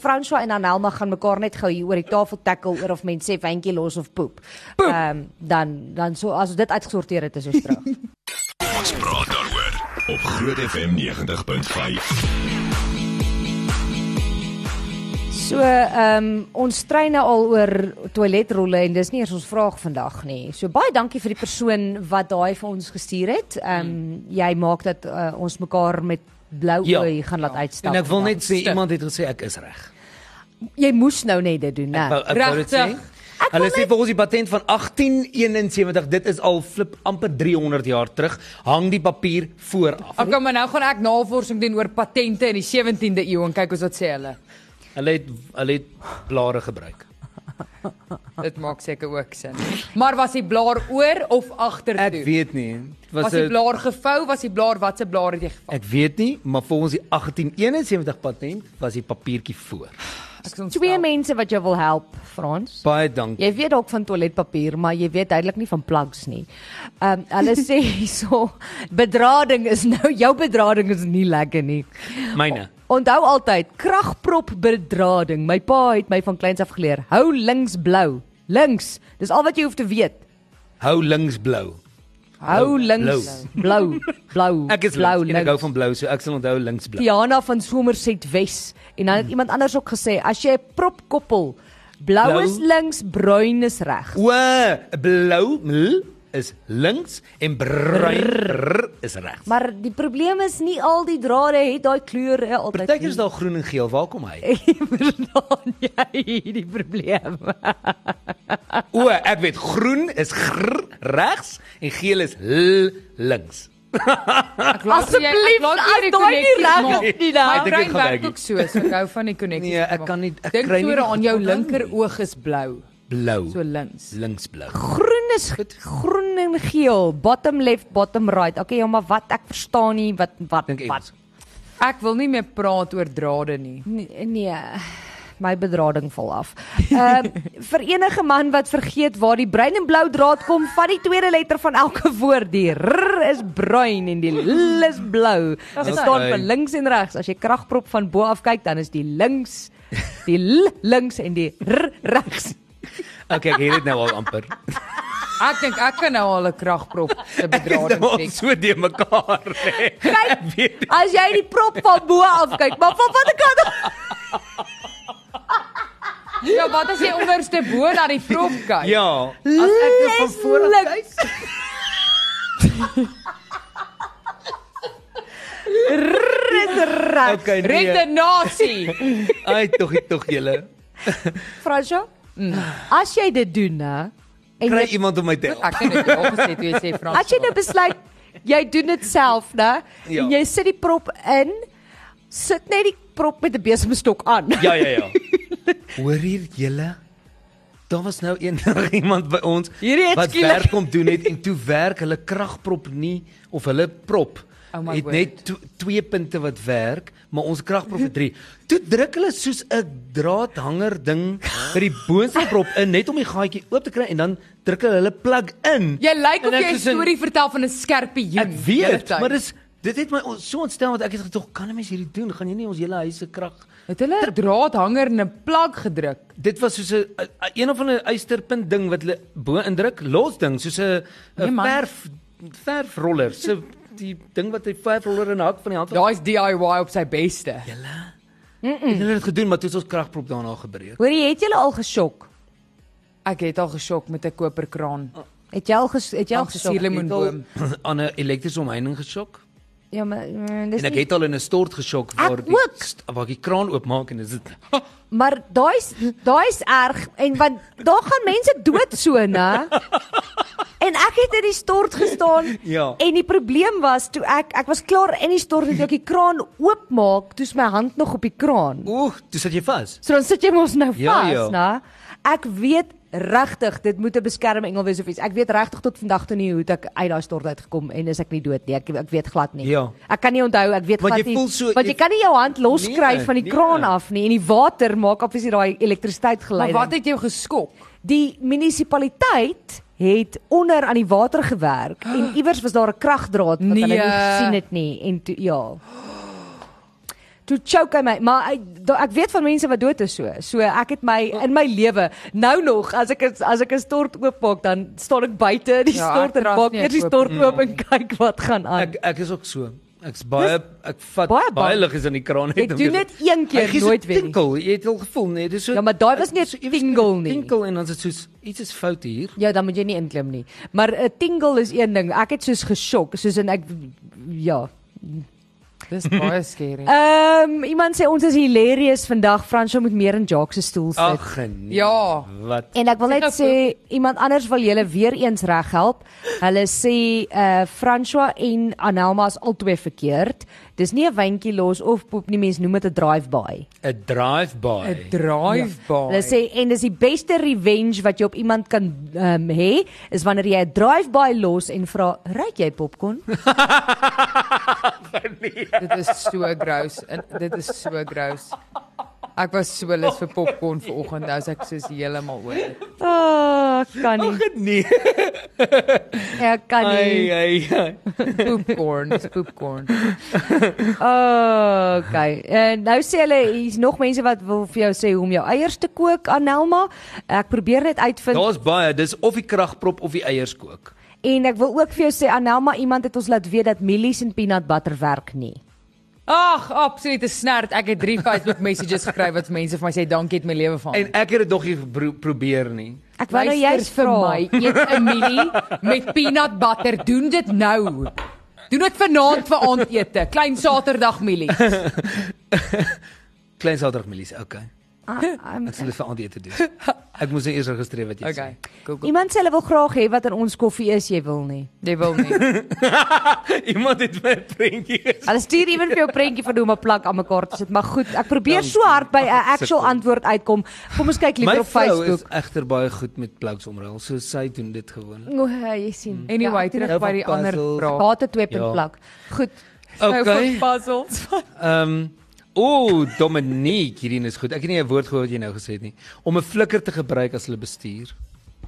[SPEAKER 1] François en Anelma gaan mekaar net gou hier oor die tafel tackle oor of mense sê wyntjie los of poep. Ehm um, dan dan so as ons dit uitgesorteer het is ons terug.
[SPEAKER 4] Ons praat daaroor op Groot FM 90.5.
[SPEAKER 1] So ehm um, ons strei nou al oor toiletrolle en dis nie eers ons vraag vandag nie. So baie dankie vir die persoon wat daai vir ons gestuur het. Ehm um, jy maak dat uh, ons mekaar met blou
[SPEAKER 2] Hmm. Ja.
[SPEAKER 1] oë gaan laat uitstap.
[SPEAKER 2] En ek wil
[SPEAKER 1] vandag.
[SPEAKER 2] net sê
[SPEAKER 3] Stuk.
[SPEAKER 2] iemand het gesê ek is reg.
[SPEAKER 1] jy moes nou net dit doen,
[SPEAKER 2] Ek wou
[SPEAKER 1] né?
[SPEAKER 2] ek wou dit sê.
[SPEAKER 3] Regtig?
[SPEAKER 2] Hulle sê vir ons die patent van 1871, dit is al flip amper 300 jaar terug, hang die papier voor af.
[SPEAKER 3] Okay, maar nou gaan ek navorsing doen oor patente in die 17de eeu en kyk ons wat sê hulle.
[SPEAKER 2] Hulle het hulle het blare gebruik.
[SPEAKER 3] Dit maak seker ook sin. Maar was die blaar oor of agter toe?
[SPEAKER 2] Ek weet nie. Het
[SPEAKER 3] was
[SPEAKER 2] Was
[SPEAKER 3] die
[SPEAKER 2] dit
[SPEAKER 3] blaar gevou? Was die blaar watse blaar het jy gevou?
[SPEAKER 2] Ek weet nie, maar volgens die 1871 patent was die papiertjie voor.
[SPEAKER 3] Ek is ontstel.
[SPEAKER 1] Twee mense wat jou wil help, Frans.
[SPEAKER 2] Baie dankie.
[SPEAKER 1] Jy weet dalk van toiletpapier, maar jy weet duidelik nie van plugs nie. Ehm um, hulle sê hierso bedrading is nou jou bedrading is nie lekker nie.
[SPEAKER 2] Myne.
[SPEAKER 1] Onthou altyd kragprop bedrading. My pa het my van kleins af geleer. Hou links blou. Links. Dis al wat jy hoef te weet.
[SPEAKER 2] Hou links blou.
[SPEAKER 1] Hou links blou. Blou.
[SPEAKER 2] Ek is
[SPEAKER 1] blou
[SPEAKER 2] blou Ja, en ek hou van blou, so ek sal onthou links blou. Hmm.
[SPEAKER 1] Tiana van Somerset Wes en dan het iemand anders ook gesê as jy 'n prop koppel, blou, blou
[SPEAKER 2] Blou.
[SPEAKER 1] is links, bruin is reg.
[SPEAKER 2] O, blou ml is links en bruin rr is regs.
[SPEAKER 1] Maar die probleem is nie al die drade het daai kleure altyd.
[SPEAKER 2] Partykeer is daar groen en geel. Waar kom hy?
[SPEAKER 1] Ja. verstaan jy die probleem.
[SPEAKER 2] O, ek weet groen is grr regs en geel is l links.
[SPEAKER 3] Ek laat jy- ek laat jy die
[SPEAKER 1] Asseblief, as daai nie
[SPEAKER 3] connecties
[SPEAKER 1] reg is
[SPEAKER 3] maak.
[SPEAKER 1] nie daar.
[SPEAKER 3] My
[SPEAKER 2] Ek dink
[SPEAKER 3] brein
[SPEAKER 2] ek gaan
[SPEAKER 3] werk
[SPEAKER 2] werk
[SPEAKER 3] ook so, so ek hou van die connecties.
[SPEAKER 2] Nee,
[SPEAKER 3] wat
[SPEAKER 2] ek
[SPEAKER 3] maak.
[SPEAKER 2] kan nie- ek
[SPEAKER 3] Dink
[SPEAKER 2] kry nie
[SPEAKER 3] voor
[SPEAKER 2] die
[SPEAKER 3] aan jou
[SPEAKER 2] gevoel aan nie.
[SPEAKER 3] linker oog is blou,
[SPEAKER 2] Blou.
[SPEAKER 3] so links.
[SPEAKER 2] Links blou.
[SPEAKER 1] Groen is groen en geel, bottom left, bottom right. Okay, ja, maar wat ek verstaan nie wat wat
[SPEAKER 2] Dink
[SPEAKER 1] wat.
[SPEAKER 2] Engels.
[SPEAKER 3] Ek wil nie meer praat oor drade nie.
[SPEAKER 1] Nee, nee. my bedrading val af. Ehm vir enige man wat vergeet waar die bruin en blou draad kom van die tweede letter van elke woord, die r is bruin en die l is blou. Dit staan vir links en regs. As jy kragprop van bo af kyk, dan is die links, die l links en die r regs.
[SPEAKER 2] Okay, ek het dit nou al amper.
[SPEAKER 3] Ek dink ek kan nou al 'n kragprop se bedrading
[SPEAKER 2] Nou
[SPEAKER 3] trek.
[SPEAKER 2] so de mekaar. hè. Ek weet.
[SPEAKER 1] As jy die prop van bo af kyk, maar van watter kant af?
[SPEAKER 3] Ja, wat as jy onderste bo na die prop kyk?
[SPEAKER 2] Ja.
[SPEAKER 3] As ek nou
[SPEAKER 1] Dis
[SPEAKER 3] van voor af kyk,
[SPEAKER 1] links. R is reg.
[SPEAKER 2] Okay,
[SPEAKER 3] red
[SPEAKER 2] nee.
[SPEAKER 3] the nasie.
[SPEAKER 2] Ai, tog, tog julle.
[SPEAKER 1] Fransjo. As jy dit doen, hè, en
[SPEAKER 2] Kry
[SPEAKER 1] jy,
[SPEAKER 2] iemand om my te help.
[SPEAKER 3] Ek het dit al gesê toe jy sê Frans.
[SPEAKER 1] as jy nou besluit jy doen dit self, né?
[SPEAKER 2] Ja.
[SPEAKER 1] En jy sit die prop in, sit net die prop met 'n besemstok aan.
[SPEAKER 2] Ja, ja, ja. Hoor hier julle. Daar was nou eendag iemand by ons
[SPEAKER 1] Hierdie het
[SPEAKER 2] wat
[SPEAKER 1] skielik-
[SPEAKER 2] werk kom doen het en toe werk hulle kragprop nie of hulle prop
[SPEAKER 3] Oh my
[SPEAKER 2] het
[SPEAKER 3] word.
[SPEAKER 2] net to, twee punte wat werk, maar ons kragprop het 3. Toe druk hulle soos 'n draadhanger ding by die boonste prop in net om die gaatjie oop te kry en dan druk hulle hulle plug in.
[SPEAKER 3] Jy lyk
[SPEAKER 2] En
[SPEAKER 3] of
[SPEAKER 2] ek
[SPEAKER 3] jy 'n
[SPEAKER 2] is in-
[SPEAKER 3] storie vertel van 'n skerpioen.
[SPEAKER 2] Ek weet,
[SPEAKER 3] heeltyd.
[SPEAKER 2] maar dis dit het my on- so ontstel want ek het gedog kan 'n mens hierdie doen? Gaan jy nie ons hele huis se krag
[SPEAKER 3] het hulle 'n draadhanger in 'n plak gedruk.
[SPEAKER 2] Dit was soos 'n 'n- een of ander eysterpunt ding wat hulle bo indruk, los ding, soos 'n
[SPEAKER 1] Nee,
[SPEAKER 2] 'n
[SPEAKER 3] man.
[SPEAKER 2] verf verfroller, so die ding wat hy verfroller in die hak van die hand het.
[SPEAKER 3] Daai's DIY op sy beste.
[SPEAKER 2] Ja.
[SPEAKER 1] Ja.
[SPEAKER 2] Hulle het dit gedoen, maar toe is ons kragprop daarna gebreek.
[SPEAKER 1] Hoor jy, het jy al geskok?
[SPEAKER 3] Ek het al geskok met 'n koperkraan.
[SPEAKER 1] Het jy al ges, Ja, het jy al
[SPEAKER 3] Ag,
[SPEAKER 1] geskok?
[SPEAKER 3] gesierlik. Lemoenboom.
[SPEAKER 2] Het al aan 'n elektriese omheining geskok
[SPEAKER 1] Ja, maar mm,
[SPEAKER 2] en
[SPEAKER 1] dis
[SPEAKER 2] ek
[SPEAKER 1] nie,
[SPEAKER 2] het al in 'n stort geskok waar die
[SPEAKER 1] ook.
[SPEAKER 2] st- waar die kraan oopmaak en is dit
[SPEAKER 1] maar daai's daai's erg en want daar gaan mense dood so, né? En ek het in die stort gestaan.
[SPEAKER 2] Ja.
[SPEAKER 1] En die probleem was toe ek ek was klaar in die stort en toe ek die kraan oopmaak, toe's my hand nog op die kraan.
[SPEAKER 2] oeg, dis dit jy vas.
[SPEAKER 1] So dan sit jy mos nou vas,
[SPEAKER 2] Ja, ja.
[SPEAKER 1] né? Ek weet regtig, dit moet 'n beskermde engel wees of iets. Ek weet regtig tot vandag toe nie hoe het ek uit daai stort uitgekom en is ek nie dood nie. Ek ek weet glad nie.
[SPEAKER 2] Ja.
[SPEAKER 1] Ek kan nie onthou, ek weet
[SPEAKER 2] Want
[SPEAKER 1] glad
[SPEAKER 2] jy
[SPEAKER 1] nie.
[SPEAKER 2] voel so-
[SPEAKER 1] want jy,
[SPEAKER 2] jy-
[SPEAKER 1] kan nie jou hand loskry
[SPEAKER 2] Nee,
[SPEAKER 1] van die
[SPEAKER 2] nee.
[SPEAKER 1] kraan af nie en die water maak obviously daai elektrisiteit
[SPEAKER 3] Maar
[SPEAKER 1] gelei.
[SPEAKER 3] wat het jou geskok?
[SPEAKER 1] Die munisipaliteit het onder aan die water gewerk en iewers was daar 'n kragdraad wat hulle nie
[SPEAKER 3] Nee.
[SPEAKER 1] gesien het nie en toe ja. Toe choke hy my, maar hy, da, ek weet van mense wat dood is so. So ek het my in my lewe nou nog as ek is- as ek 'n stort oopmaak dan staan ek buite in die
[SPEAKER 3] Ja,
[SPEAKER 1] ja, stort en
[SPEAKER 3] ek trust
[SPEAKER 1] maak
[SPEAKER 3] nie
[SPEAKER 1] eers die
[SPEAKER 3] oop
[SPEAKER 1] stort oop en kyk wat gaan aan.
[SPEAKER 2] Ek ek is ook so. Ek's baie ek vat
[SPEAKER 1] baie
[SPEAKER 2] baie,
[SPEAKER 1] bang.
[SPEAKER 2] liggies aan die kraan net
[SPEAKER 1] Jy
[SPEAKER 2] om
[SPEAKER 1] doen
[SPEAKER 2] te-
[SPEAKER 1] dit een keer,
[SPEAKER 2] Hy gee so
[SPEAKER 1] nooit weer nie.
[SPEAKER 2] Tinkel, jy het al gevoel, nee, dis so
[SPEAKER 1] ja, maar daai was nie 'n
[SPEAKER 2] so iewers
[SPEAKER 1] tingle nie.
[SPEAKER 2] Tinkel en dan is dit soos iets is fout hier.
[SPEAKER 1] Ja, dan moet jy nie inklim nie. Maar 'n tingle is een ding. Ek het soos geskok, soos en ek ja,
[SPEAKER 3] Dis baie skerry.
[SPEAKER 1] Ehm um, iemand sê ons is hilarious vandag. Fransjo moet meer in Jacques se stoel sit. Ach.
[SPEAKER 2] Ag nee.
[SPEAKER 3] Ja.
[SPEAKER 2] Wat?
[SPEAKER 1] En ek wil net
[SPEAKER 3] Sit nou
[SPEAKER 1] sê iemand anders wil julle weer eens reghelp. Hulle sê eh uh, Franswa en Anelma is albei verkeerd. Dis nie 'n windjie los of poep nie, mense noem dit 'n drive-by.
[SPEAKER 2] 'n
[SPEAKER 3] 'n
[SPEAKER 2] Drive-by.
[SPEAKER 3] Drive-by.
[SPEAKER 1] Hulle sê en dis die beste revenge wat jy op iemand kan ehm um, hê, is wanneer jy 'n drive-by los en vra, "Ryk jy popcorn?"
[SPEAKER 3] dit is so gross. En dit is so gross. Ek was so lus vir popcorn vanoggend, nou is ek soos heeltemal oor.
[SPEAKER 1] Ah, oh, kan nie.
[SPEAKER 2] Nee.
[SPEAKER 1] Ek Ja, kan
[SPEAKER 2] Ai
[SPEAKER 1] nie.
[SPEAKER 2] ai. ai.
[SPEAKER 3] Popcorn, dis popcorn.
[SPEAKER 1] Oh, okay. En nou sê hulle hier's nog mense wat wil vir jou sê hoe om jou eiers te kook, Anelma. Ek probeer net uitvind
[SPEAKER 2] Daar's baie, dis of die kragprop of die eiers kook.
[SPEAKER 1] en ek wil ook vir jou sê Anelma, iemand het ons laat weet dat mielies en peanut butter werk nie.
[SPEAKER 3] Ag, absolute snert. Ek het 3 Facebook messages gekry wat mense vir my sê dankie het my lewe van.
[SPEAKER 2] En ek het dit nog nie gebro- probeer nie.
[SPEAKER 1] Ek wou nou
[SPEAKER 3] Luister
[SPEAKER 1] jy's vir my.
[SPEAKER 3] eet 'n mielie met peanut butter. Doen dit nou. Doen dit vanaand vir aandete, klein Saterdag mielie.
[SPEAKER 2] Klein Saterdag Milies, okay.
[SPEAKER 1] Ah,
[SPEAKER 2] Ek sal dit vir aandete doen. Ek moes net eers registreer wat jy
[SPEAKER 3] Okay. Google.
[SPEAKER 1] iemand sê hulle wil graag hê wat in ons koffie is, jy wil nie.
[SPEAKER 3] Jy wil nie.
[SPEAKER 2] sê. Iemand het my prentjie gesê.
[SPEAKER 1] Hulle stuur ewen vir jou 'n prentjie van hoe om 'n plak aan mekaar te sit, maar goed, ek probeer so hard by 'n actual antwoord uitkom. Kom ons kyk
[SPEAKER 2] My
[SPEAKER 1] liewer op
[SPEAKER 2] vrou is
[SPEAKER 1] Facebook.
[SPEAKER 2] egter baie goed met plugs omruil, so sy doen dit gewoon.
[SPEAKER 1] O, jy sien. Ja,
[SPEAKER 3] Anyway, terug by die ander
[SPEAKER 2] puzzles.
[SPEAKER 3] vraag.
[SPEAKER 1] Haat 'n twee punt
[SPEAKER 2] Ja.
[SPEAKER 1] plak. Goed.
[SPEAKER 3] Nou vir
[SPEAKER 2] Okay.
[SPEAKER 3] puzzles.
[SPEAKER 2] Ehm Ooh, Dominique, hierdie is goed. Ek het nie 'n woord gehoor wat jy nou gesê het nie. Om 'n flikker te gebruik as hulle bestuur.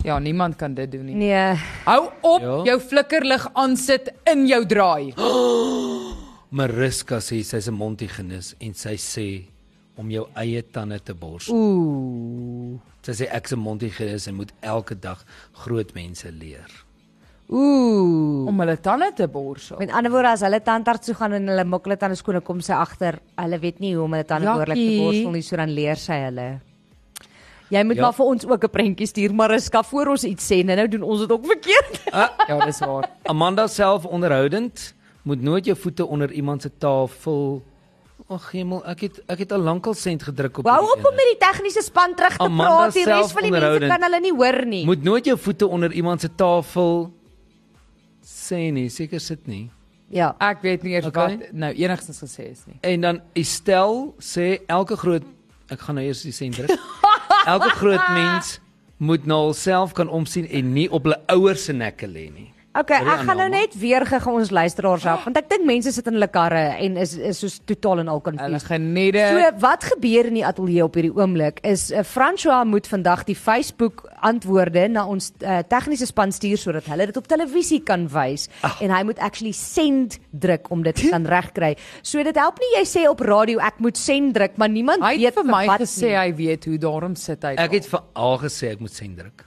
[SPEAKER 3] Ja, niemand kan dit doen nie.
[SPEAKER 1] Nee.
[SPEAKER 3] Hou op
[SPEAKER 2] Ja.
[SPEAKER 3] jou flikkerlig aansit in jou draai.
[SPEAKER 2] Mariska sê sy's 'n mondhygiënis en sy sê om jou eie tande te bors.
[SPEAKER 3] Ooh.
[SPEAKER 2] Sy sê ek's 'n mondhygiënis en moet elke dag groot mense leer.
[SPEAKER 1] Ooh.
[SPEAKER 3] Om hulle tande te borsel.
[SPEAKER 1] Met ander woorde as hulle tandarts toe gaan en hulle maak hulle tande skoon, dan kom sy agter, hulle weet nie hoe om hulle tande behoorlik te
[SPEAKER 3] Jakkie.
[SPEAKER 1] borsel nie, so dan leer sy hulle. Jy moet ja.
[SPEAKER 2] Ja.
[SPEAKER 1] maar vir ons ook 'n prentjie stuur, maar is ka voor ons iets sê, nou nou doen ons dit ook verkeerd.
[SPEAKER 3] Ja, dis waar.
[SPEAKER 2] Amanda self onderhoudend moet nooit jou voete onder iemand se tafel. Ag hemel, ek het ek het al lankal sent gedruk op.
[SPEAKER 1] Hou
[SPEAKER 2] hierdie
[SPEAKER 1] op om
[SPEAKER 2] ene.
[SPEAKER 1] met die tegniese span terug te
[SPEAKER 2] Amanda
[SPEAKER 1] praat, die res
[SPEAKER 2] self
[SPEAKER 1] van die mense
[SPEAKER 2] onderhoudend.
[SPEAKER 1] kan hulle nie hoor nie.
[SPEAKER 2] Moet nooit jou voete onder iemand se tafel sê nie, seker sit nie.
[SPEAKER 1] ja.
[SPEAKER 3] Ek weet nie eers
[SPEAKER 2] Okay.
[SPEAKER 3] okay. wat nou enigstens gesê is nie.
[SPEAKER 2] En dan Estel sê elke groot ek gaan nou eers die sent druk. Elke groot mens moet na homself kan omsien en nie op hulle ouers se nekke lê nie.
[SPEAKER 1] Okay,
[SPEAKER 2] Wil jy
[SPEAKER 1] ek gaan nou
[SPEAKER 2] aanhaal,
[SPEAKER 1] net weer gou ons luisteraars help, want ek dink mense sit in hulle karre en is is soos totaal en al
[SPEAKER 3] Hulle
[SPEAKER 1] confused.
[SPEAKER 3] geniet
[SPEAKER 1] So
[SPEAKER 3] dit.
[SPEAKER 1] wat gebeur in die ateljee op hierdie oomblik is uh, François moet vandag die Facebook antwoorde na ons uh, tegniese span stuur sodat hulle dit op televisie kan wys en hy moet actually send druk om dit te kan regkry. So dit help nie jy sê op radio ek moet send druk, maar niemand
[SPEAKER 3] Hy
[SPEAKER 1] weet
[SPEAKER 3] het vir my
[SPEAKER 1] wat
[SPEAKER 3] gesê
[SPEAKER 1] nie.
[SPEAKER 3] hy weet hoe daarom sit hy.
[SPEAKER 2] Ek
[SPEAKER 3] daar.
[SPEAKER 2] het vir haar gesê ek moet sent druk.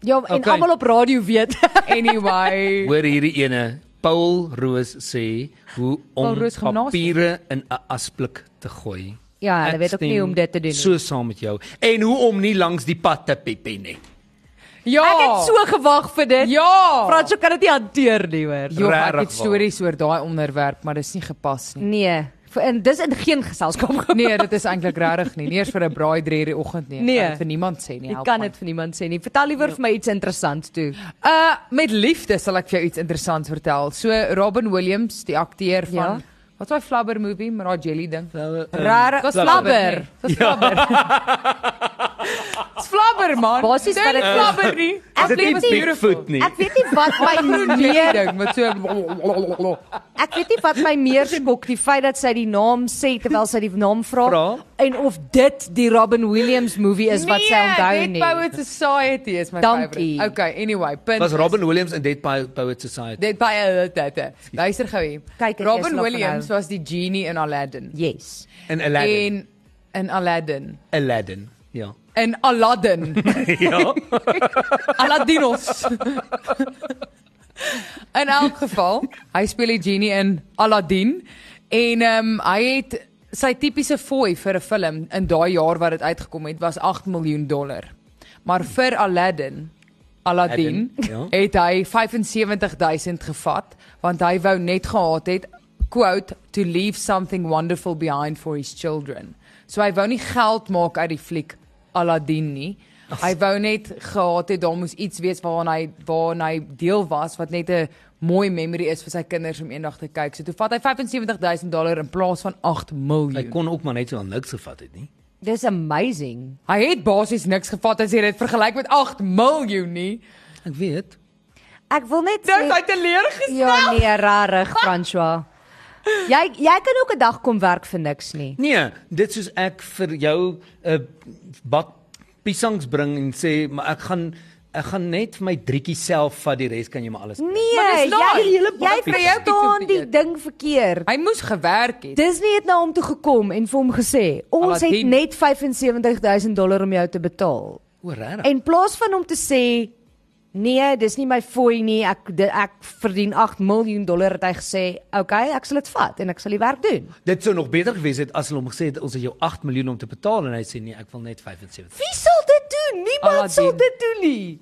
[SPEAKER 1] Ja, en
[SPEAKER 2] Okay.
[SPEAKER 1] okay. almal op radio weet.
[SPEAKER 3] anyway.
[SPEAKER 2] Hoor hierdie ene. Paul Roos sê hoe om
[SPEAKER 3] Paul Roos Gimnasium.
[SPEAKER 2] papiere in 'n asblik te gooi.
[SPEAKER 1] Ja, hulle
[SPEAKER 2] Ek
[SPEAKER 1] weet ook nie
[SPEAKER 2] stem
[SPEAKER 1] hoe om dit te doen nie.
[SPEAKER 2] So saam met jou. En hoe om nie langs die pad te piepie nie.
[SPEAKER 3] Ja.
[SPEAKER 1] Ek het so gewag vir dit.
[SPEAKER 3] Ja.
[SPEAKER 1] François kan dit nie hanteer nie hoor.
[SPEAKER 3] Jo, ek
[SPEAKER 2] Rarig
[SPEAKER 3] het stories oor daai onderwerp, maar dis nie gepas nie.
[SPEAKER 1] Nee, vir- en dis in geen geselskap gebeur.
[SPEAKER 3] Nee, dit is eintlik regtig nie. Nie eers vir 'n braai 3 uur die oggend nie. Ek
[SPEAKER 1] Nee.
[SPEAKER 3] kan dit vir niemand sê nie.
[SPEAKER 1] Jy
[SPEAKER 3] help
[SPEAKER 1] kan
[SPEAKER 3] my.
[SPEAKER 1] dit vir niemand sê nie. Vertel liewer vir my iets interessants toe.
[SPEAKER 3] Uh met liefde sal ek vir jou iets interessants vertel. So Robin Williams, die akteur van
[SPEAKER 1] Ja.
[SPEAKER 3] wat was Flubber movie met daai jelly ding?
[SPEAKER 2] eh,
[SPEAKER 1] Rare
[SPEAKER 3] Was
[SPEAKER 1] flabber.
[SPEAKER 3] Was Flubber. Dis Flubber
[SPEAKER 1] Ja.
[SPEAKER 3] man.
[SPEAKER 1] Basies wat
[SPEAKER 3] Dink
[SPEAKER 1] dit is.
[SPEAKER 3] Flubber nie.
[SPEAKER 1] Ek
[SPEAKER 2] Is
[SPEAKER 1] weet
[SPEAKER 2] dit nie
[SPEAKER 1] nie-
[SPEAKER 2] Bigfoot nie?
[SPEAKER 1] Ek weet nie wat my
[SPEAKER 3] Groen
[SPEAKER 1] meer
[SPEAKER 3] jelly ding met so
[SPEAKER 1] Ek weet nie wat my meer skok die feit dat sy die naam sê terwyl sy die naam vra
[SPEAKER 2] Vra?
[SPEAKER 1] en of dit die Robin Williams movie is wat sy onthou
[SPEAKER 3] Nee, Dead
[SPEAKER 1] nie.
[SPEAKER 3] Poets Society is my
[SPEAKER 1] Dankie.
[SPEAKER 3] favorite. Okay, anyway, punt.
[SPEAKER 2] Was Robin Williams in Dead Poet Poet Society.
[SPEAKER 3] Dit by dit. Luister gou hier.
[SPEAKER 1] Kyk, ek is
[SPEAKER 3] Robin
[SPEAKER 1] nog
[SPEAKER 3] Williams
[SPEAKER 1] nou.
[SPEAKER 3] was die genie in Aladdin.
[SPEAKER 1] Yes.
[SPEAKER 2] In Aladdin.
[SPEAKER 3] En in Aladdin.
[SPEAKER 2] Aladdin. Ja.
[SPEAKER 3] In Aladdin.
[SPEAKER 2] ja.
[SPEAKER 3] Aladinos. in elk geval, hy speel die genie in Aladdin en ehm um, hy het sy tipiese fooi vir 'n film in daai jaar wat dit uitgekom het was 8 miljoen dollar. Maar vir Aladdin Aladdin
[SPEAKER 2] Aladdin, ja.
[SPEAKER 3] het hy 75000 gevat want hy wou net gehad het quote to leave something wonderful behind for his children. So hy wou nie geld maak uit die fliek Aladdin nie. Hy wou net gehad het daar moes iets wees waaraan hy waaraan hy deel was wat net 'n mooi memory is vir sy kinders om eendag te kyk. So toe vat hy 75000 dollar in plaas van 8
[SPEAKER 2] Hy
[SPEAKER 3] miljoen.
[SPEAKER 2] kon ook maar net so aan niks gevat het nie.
[SPEAKER 1] Dis amazing.
[SPEAKER 3] Hy het basies niks gevat as jy dit vergelyk met 8 miljoen nie.
[SPEAKER 2] Ek weet.
[SPEAKER 1] Ek wil net
[SPEAKER 3] Nou is
[SPEAKER 1] sê
[SPEAKER 3] hy teleurgestel.
[SPEAKER 1] Ja nee, rarig François. Jy jy kan ook 'n dag kom werk vir niks nie.
[SPEAKER 2] Nee, dit soos ek vir jou 'n bak piesangs bring en sê maar ek gaan ek gaan net vir my drietjie self vat, die res kan jy maar alles. kry."
[SPEAKER 3] Maar
[SPEAKER 1] Nee,
[SPEAKER 3] dis
[SPEAKER 1] jy
[SPEAKER 3] laat.
[SPEAKER 1] jy
[SPEAKER 2] Hele bakkie.
[SPEAKER 1] verstaan
[SPEAKER 3] Iets
[SPEAKER 1] die
[SPEAKER 3] om te
[SPEAKER 1] ding verkeerd.
[SPEAKER 3] Hy moes gewerk het.
[SPEAKER 1] Disney het na hom toe gekom en vir hom gesê, "Ons het
[SPEAKER 3] Aladdin.
[SPEAKER 1] net 75000 dollar om jou te betaal."
[SPEAKER 2] O,
[SPEAKER 3] Ja.
[SPEAKER 2] regtig.
[SPEAKER 1] En plaas van hom te sê, "Nee, dis nie my fooi nie. Ek di- ek verdien 8 miljoen dollar," het hy gesê, "Oké, okay, ek sal dit vat en ek sal die werk doen."
[SPEAKER 2] Dit sou nog beter gewees het as hulle hom gesê het ons het jou 8 miljoen om te betaal en hy sê nee, ek wil net 75.
[SPEAKER 1] Wie sal dit doen? Niemand
[SPEAKER 3] Aladdin.
[SPEAKER 1] sal dit doen nie.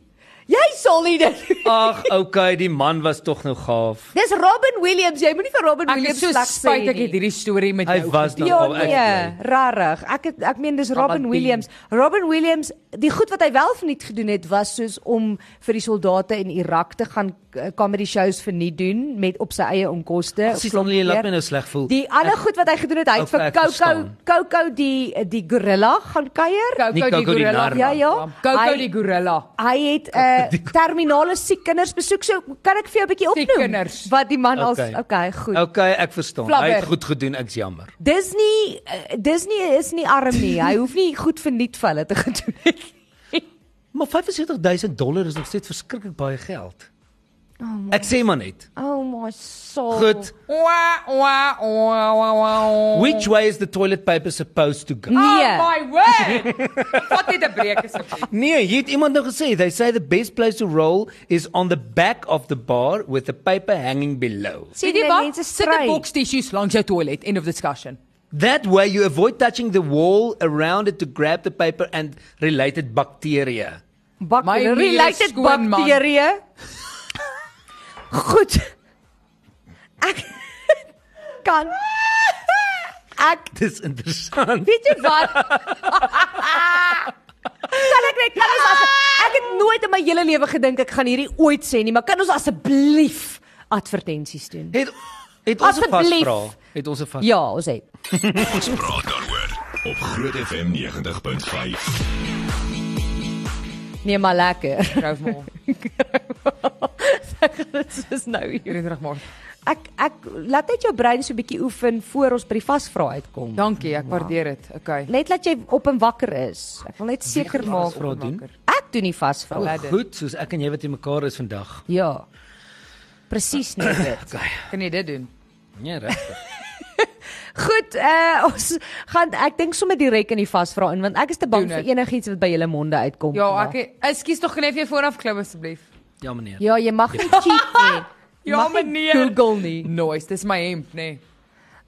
[SPEAKER 1] Jy sal nie dit doen.
[SPEAKER 2] Ag, okay, die man was tog nou gaaf.
[SPEAKER 1] Dis Robin Williams. Jy moenie vir Robin
[SPEAKER 3] Ek is
[SPEAKER 1] Williams
[SPEAKER 3] so
[SPEAKER 1] sleg sê
[SPEAKER 3] spyt ek het
[SPEAKER 1] nie.
[SPEAKER 3] hierdie storie met
[SPEAKER 2] Hy
[SPEAKER 3] jou.
[SPEAKER 2] was dan
[SPEAKER 1] Ja
[SPEAKER 2] al ek.
[SPEAKER 1] nee, rarig. Ek het, ek meen dis Robin
[SPEAKER 3] Aladdin.
[SPEAKER 1] Williams. Robin Williams, die goed wat hy wel verniet gedoen het was soos om vir die soldate in Irak te gaan eh, comedy shows verniet doen met op sy eie onkoste.
[SPEAKER 2] Presies,
[SPEAKER 1] klomp
[SPEAKER 2] Annelie, laat
[SPEAKER 1] keer.
[SPEAKER 2] my nou sleg voel.
[SPEAKER 1] Ja. Die ander
[SPEAKER 2] Ek-
[SPEAKER 1] goed wat hy gedoen het, hy het
[SPEAKER 2] Oké,
[SPEAKER 1] vir
[SPEAKER 2] ek
[SPEAKER 1] Coco
[SPEAKER 2] verstaan.
[SPEAKER 1] Coco die die gorilla gaan kuier.
[SPEAKER 3] Coco
[SPEAKER 2] Nie
[SPEAKER 3] die
[SPEAKER 2] Coco die
[SPEAKER 3] gorilla.
[SPEAKER 2] nar.
[SPEAKER 1] Ja ja.
[SPEAKER 3] Coco
[SPEAKER 1] Hy- eh,
[SPEAKER 3] die gorilla.
[SPEAKER 1] Hy het 'n uh, terminale siek kinders besoek. So kan ek vir jou 'n bietjie
[SPEAKER 3] Siek
[SPEAKER 1] opnoem
[SPEAKER 3] kinders.
[SPEAKER 1] wat die man gaan als
[SPEAKER 2] Okay.
[SPEAKER 1] okay, goed.
[SPEAKER 2] Okay, ek verstaan. Hy
[SPEAKER 3] Flabber.
[SPEAKER 2] het goed gedoen, ek's jammer.
[SPEAKER 1] Disney eh, Disney is nie arm nie. Hy hoef nie goed vir nuut vir hulle te gedoen het.
[SPEAKER 2] Maar 75000 dollar is nog steeds verskriklik baie geld. Ek sê maar net.
[SPEAKER 1] Oh my soul.
[SPEAKER 2] Goed.
[SPEAKER 3] Wa wa wa wa wa.
[SPEAKER 2] Which way is the toilet paper supposed to go?
[SPEAKER 1] Nee.
[SPEAKER 3] Oh my word. Wat dit 'n breek is op.
[SPEAKER 2] Nee, hier het iemand nou gesê, they say the best place to roll is on the back of the bar with the paper hanging below.
[SPEAKER 1] Sien
[SPEAKER 3] Sien jy
[SPEAKER 1] jy,
[SPEAKER 3] wat?
[SPEAKER 1] mense
[SPEAKER 3] Sit 'n
[SPEAKER 1] stry.
[SPEAKER 3] box tissues langs jou toilet. End of discussion.
[SPEAKER 2] That way you avoid touching the wall around it to grab the paper and related bacteria.
[SPEAKER 1] Bak
[SPEAKER 3] My muur is
[SPEAKER 1] related
[SPEAKER 3] skoon, man.
[SPEAKER 1] bakterieë. Goed. Ek kan ek
[SPEAKER 2] Dis interessant.
[SPEAKER 1] weet jy wat? kan ek net kan ons as ek het nooit in my hele lewe gedink ek gaan hierdie ooit sê nie, maar kan ons asseblief advertensies doen?
[SPEAKER 2] Het het ons 'n
[SPEAKER 1] Asseblief.
[SPEAKER 2] vasvra? Het ons 'n vas?
[SPEAKER 1] Ja, ons het.
[SPEAKER 4] Ons praat daaroor op Groot FM 90.5.
[SPEAKER 1] Nee, maar lekker.
[SPEAKER 3] Grove maar.
[SPEAKER 1] Dit is nou hier.
[SPEAKER 3] Hierdie terug maar.
[SPEAKER 1] Ek ek laat net jou brein so 'n bietjie oefen voor ons by die vasvra uitkom.
[SPEAKER 3] Dankie, ek waardeer dit. Okay.
[SPEAKER 1] Net laat jy op en wakker is. Ek wil net seker
[SPEAKER 2] gaan
[SPEAKER 1] maak
[SPEAKER 2] vasvra doen?
[SPEAKER 1] Ek doen nie vasvra.
[SPEAKER 2] O,
[SPEAKER 1] nie.
[SPEAKER 3] Lekker.
[SPEAKER 2] Goed, soos ek en jy wat in mekaar is vandag.
[SPEAKER 1] Ja. Presies net dit.
[SPEAKER 3] Kan jy dit doen?
[SPEAKER 2] Nee, regtig.
[SPEAKER 1] Goed, uh ons gaan ek dink sommer direk in die vasvra in want ek is te bang
[SPEAKER 3] Doen
[SPEAKER 1] vir
[SPEAKER 3] dit.
[SPEAKER 1] enigiets wat by julle monde uitkom.
[SPEAKER 3] Ja,
[SPEAKER 1] vandag.
[SPEAKER 3] ek ekskuus tog kan jy vir jou vooraf klou asseblief.
[SPEAKER 2] Ja, meneer.
[SPEAKER 1] Ja, jy mag nie cheat nie. Jy
[SPEAKER 3] Ja,
[SPEAKER 1] mag nie
[SPEAKER 3] meneer.
[SPEAKER 1] Google nie.
[SPEAKER 3] Nice, dis my hemp, nê. Nee.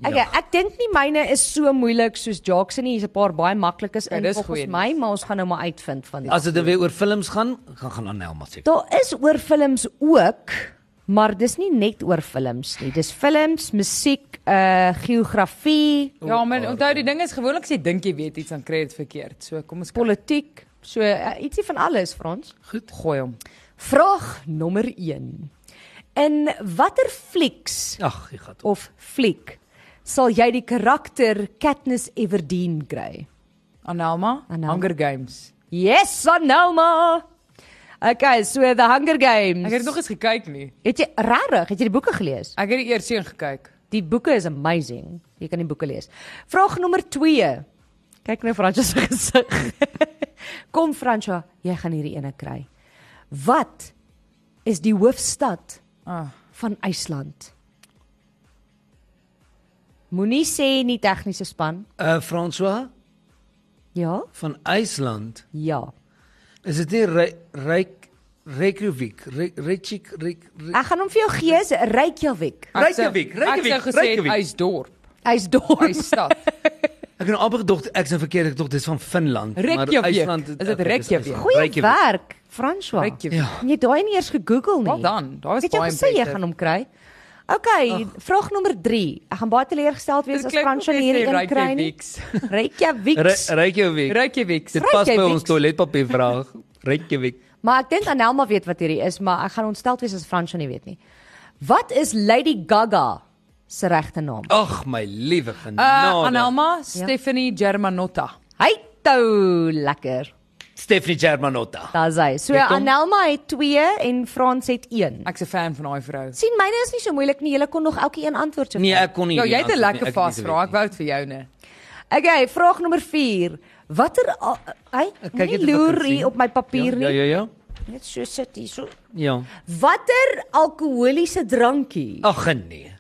[SPEAKER 1] Okay, ek dink nie myne is so moeilik soos Jacques se nie. Hier's 'n paar baie maklikes
[SPEAKER 3] Ja,
[SPEAKER 1] in
[SPEAKER 3] dis
[SPEAKER 1] volgens
[SPEAKER 3] goeie
[SPEAKER 1] my, maar ons gaan nou maar uitvind van
[SPEAKER 3] Ja,
[SPEAKER 1] dit.
[SPEAKER 2] As dit dan weer oor films gaan, gaan gaan aan Nelma seker.
[SPEAKER 1] Daar is oor films ook, maar dis nie net oor films nie. Dis films, musiek, uh geografie,
[SPEAKER 3] Ja,
[SPEAKER 2] Oh,
[SPEAKER 3] maar onthou die ding is gewoonlik as jy dink jy weet iets dan kry jy dit verkeerd. So kom ons kyk.
[SPEAKER 1] politiek, so uh, ietsie van alles, Frans.
[SPEAKER 3] Goed. Gooi hom.
[SPEAKER 1] Vraag nommer 1. In watter flieks
[SPEAKER 2] Ag, jy gaan.
[SPEAKER 1] of fliek sal jy die karakter Katniss Everdeen kry?
[SPEAKER 3] Anelma,
[SPEAKER 1] Anelma.
[SPEAKER 3] Hunger Games.
[SPEAKER 1] Yes, Anelma. Okay, so The Hunger Games.
[SPEAKER 3] Ek het dit nog eens gekyk nie.
[SPEAKER 1] het jy rarig, het jy die boeke gelees?
[SPEAKER 3] Ek het die eers een gekyk.
[SPEAKER 1] Die boeke is amazing. Jy kan die boeke lees. Vraag nommer 2. Kyk nou Fransjo se gesig. Kom Fransjo, jy gaan hierdie ene kry. Wat is die hoofstad
[SPEAKER 3] Ah,
[SPEAKER 1] van IJsland? Moenie sê nie tegniese span.
[SPEAKER 2] Uh François
[SPEAKER 1] Ja?
[SPEAKER 2] van IJsland.
[SPEAKER 1] Ja.
[SPEAKER 2] Is dit nie Re- Reik Reykjavik, Re- Reykjavik, Reik- Reik-
[SPEAKER 1] Ek gaan hom vir jou gee, is Reykjavik.
[SPEAKER 3] ek sou-
[SPEAKER 2] Reykjavik,
[SPEAKER 3] Ek sou
[SPEAKER 2] Reykjavik,
[SPEAKER 3] gesê het
[SPEAKER 2] Reykjavik.
[SPEAKER 3] Ysdorp,
[SPEAKER 1] IJsdorp.
[SPEAKER 3] Ysstad.
[SPEAKER 2] Ek het nou amper gedoog ek's nou verkeerd gedoog dis van Finland,
[SPEAKER 3] Reykjavik.
[SPEAKER 2] maar IJsland
[SPEAKER 3] Is dit
[SPEAKER 2] okay,
[SPEAKER 3] Reykjavik?
[SPEAKER 2] IJsland.
[SPEAKER 1] Goeie
[SPEAKER 2] Reykjavik.
[SPEAKER 1] werk, Fransjo.
[SPEAKER 3] Reykjavik.
[SPEAKER 2] Ja.
[SPEAKER 1] Jy het daai nie eers gegoogel nie.
[SPEAKER 3] Wel dan, daar was
[SPEAKER 1] Ek het jou
[SPEAKER 3] baie
[SPEAKER 1] gesê jy
[SPEAKER 3] impressive.
[SPEAKER 1] gaan hom kry. OK, vraag nommer 3. Ek gaan baie teleurgesteld wees
[SPEAKER 3] Dit
[SPEAKER 1] as
[SPEAKER 3] klink
[SPEAKER 1] Fransjo
[SPEAKER 3] of jy
[SPEAKER 1] hierdie
[SPEAKER 3] sê
[SPEAKER 1] een kry nie.
[SPEAKER 3] Reykjaviks.
[SPEAKER 1] Reykjavik.
[SPEAKER 2] Re- Reykjavik.
[SPEAKER 3] Reykjavik.
[SPEAKER 2] Dit pas by
[SPEAKER 1] Reykjavik.
[SPEAKER 2] ons toiletpapier vraag. Reykjavik.
[SPEAKER 1] Maar ek dink Anelma weet wat hierdie is, maar ek gaan ontsteld wees as Fransjo nie weet nie. Wat is Lady Gaga se regte naam?
[SPEAKER 2] Ag my liewe
[SPEAKER 3] Uh,
[SPEAKER 2] genade.
[SPEAKER 1] Ja.
[SPEAKER 3] Anelma, Stephanie Germanotta.
[SPEAKER 1] Hy tou lekker.
[SPEAKER 2] Stephanie Germanotta.
[SPEAKER 1] Daar's hy. So
[SPEAKER 2] Kyk hom.
[SPEAKER 1] Anelma het 2 en Frans het 1.
[SPEAKER 3] Ek's 'n fan van daai vrou.
[SPEAKER 1] sien myne is nie so moeilik nie. Julle kon nog elke een antwoord so
[SPEAKER 2] Nee, ek kon nie.
[SPEAKER 3] Ja,
[SPEAKER 2] hierdie
[SPEAKER 3] jy het 'n
[SPEAKER 2] antwoord nie,
[SPEAKER 3] lekker
[SPEAKER 2] ek het nie
[SPEAKER 3] vas
[SPEAKER 2] geweet
[SPEAKER 3] vraag. Ek
[SPEAKER 2] nie.
[SPEAKER 3] wou dit vir jou nee.
[SPEAKER 1] Okay, vraag nommer 4. Watter a- hy nie
[SPEAKER 2] kyk net of ek kan
[SPEAKER 1] loer
[SPEAKER 2] sien.
[SPEAKER 1] hier op my papier
[SPEAKER 2] Ja,
[SPEAKER 1] nie.
[SPEAKER 2] ja, ja.
[SPEAKER 1] Net so sit hier so.
[SPEAKER 2] Ja.
[SPEAKER 1] Watter alkoholiese drankie
[SPEAKER 2] Ag nee.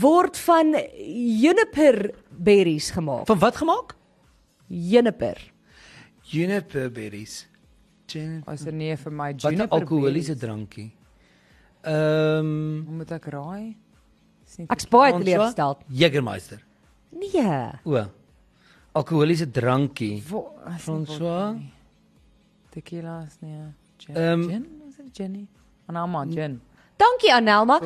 [SPEAKER 1] word van juniper berries gemaak?
[SPEAKER 2] Van wat gemaak?
[SPEAKER 1] Juniper.
[SPEAKER 2] Juniper berries. Juniper.
[SPEAKER 3] Was 'n nee vir my
[SPEAKER 2] Wat 'n
[SPEAKER 3] juniper.
[SPEAKER 2] alkoholiese drankie. Ehm
[SPEAKER 3] berries. Hoe moet ek raai? Dis nie
[SPEAKER 1] Ek's baie
[SPEAKER 2] ja?
[SPEAKER 1] teleurgesteld.
[SPEAKER 2] Jägermeister.
[SPEAKER 1] Nee.
[SPEAKER 2] O. Alkoholiese drankie.
[SPEAKER 3] Wo- is nie
[SPEAKER 2] François?
[SPEAKER 3] vodka nie. Tequila is nie. eh, Gin.
[SPEAKER 2] Ehm.
[SPEAKER 3] gin? Is dit Jenny? Anelma, gin.
[SPEAKER 1] Dankie Anelma.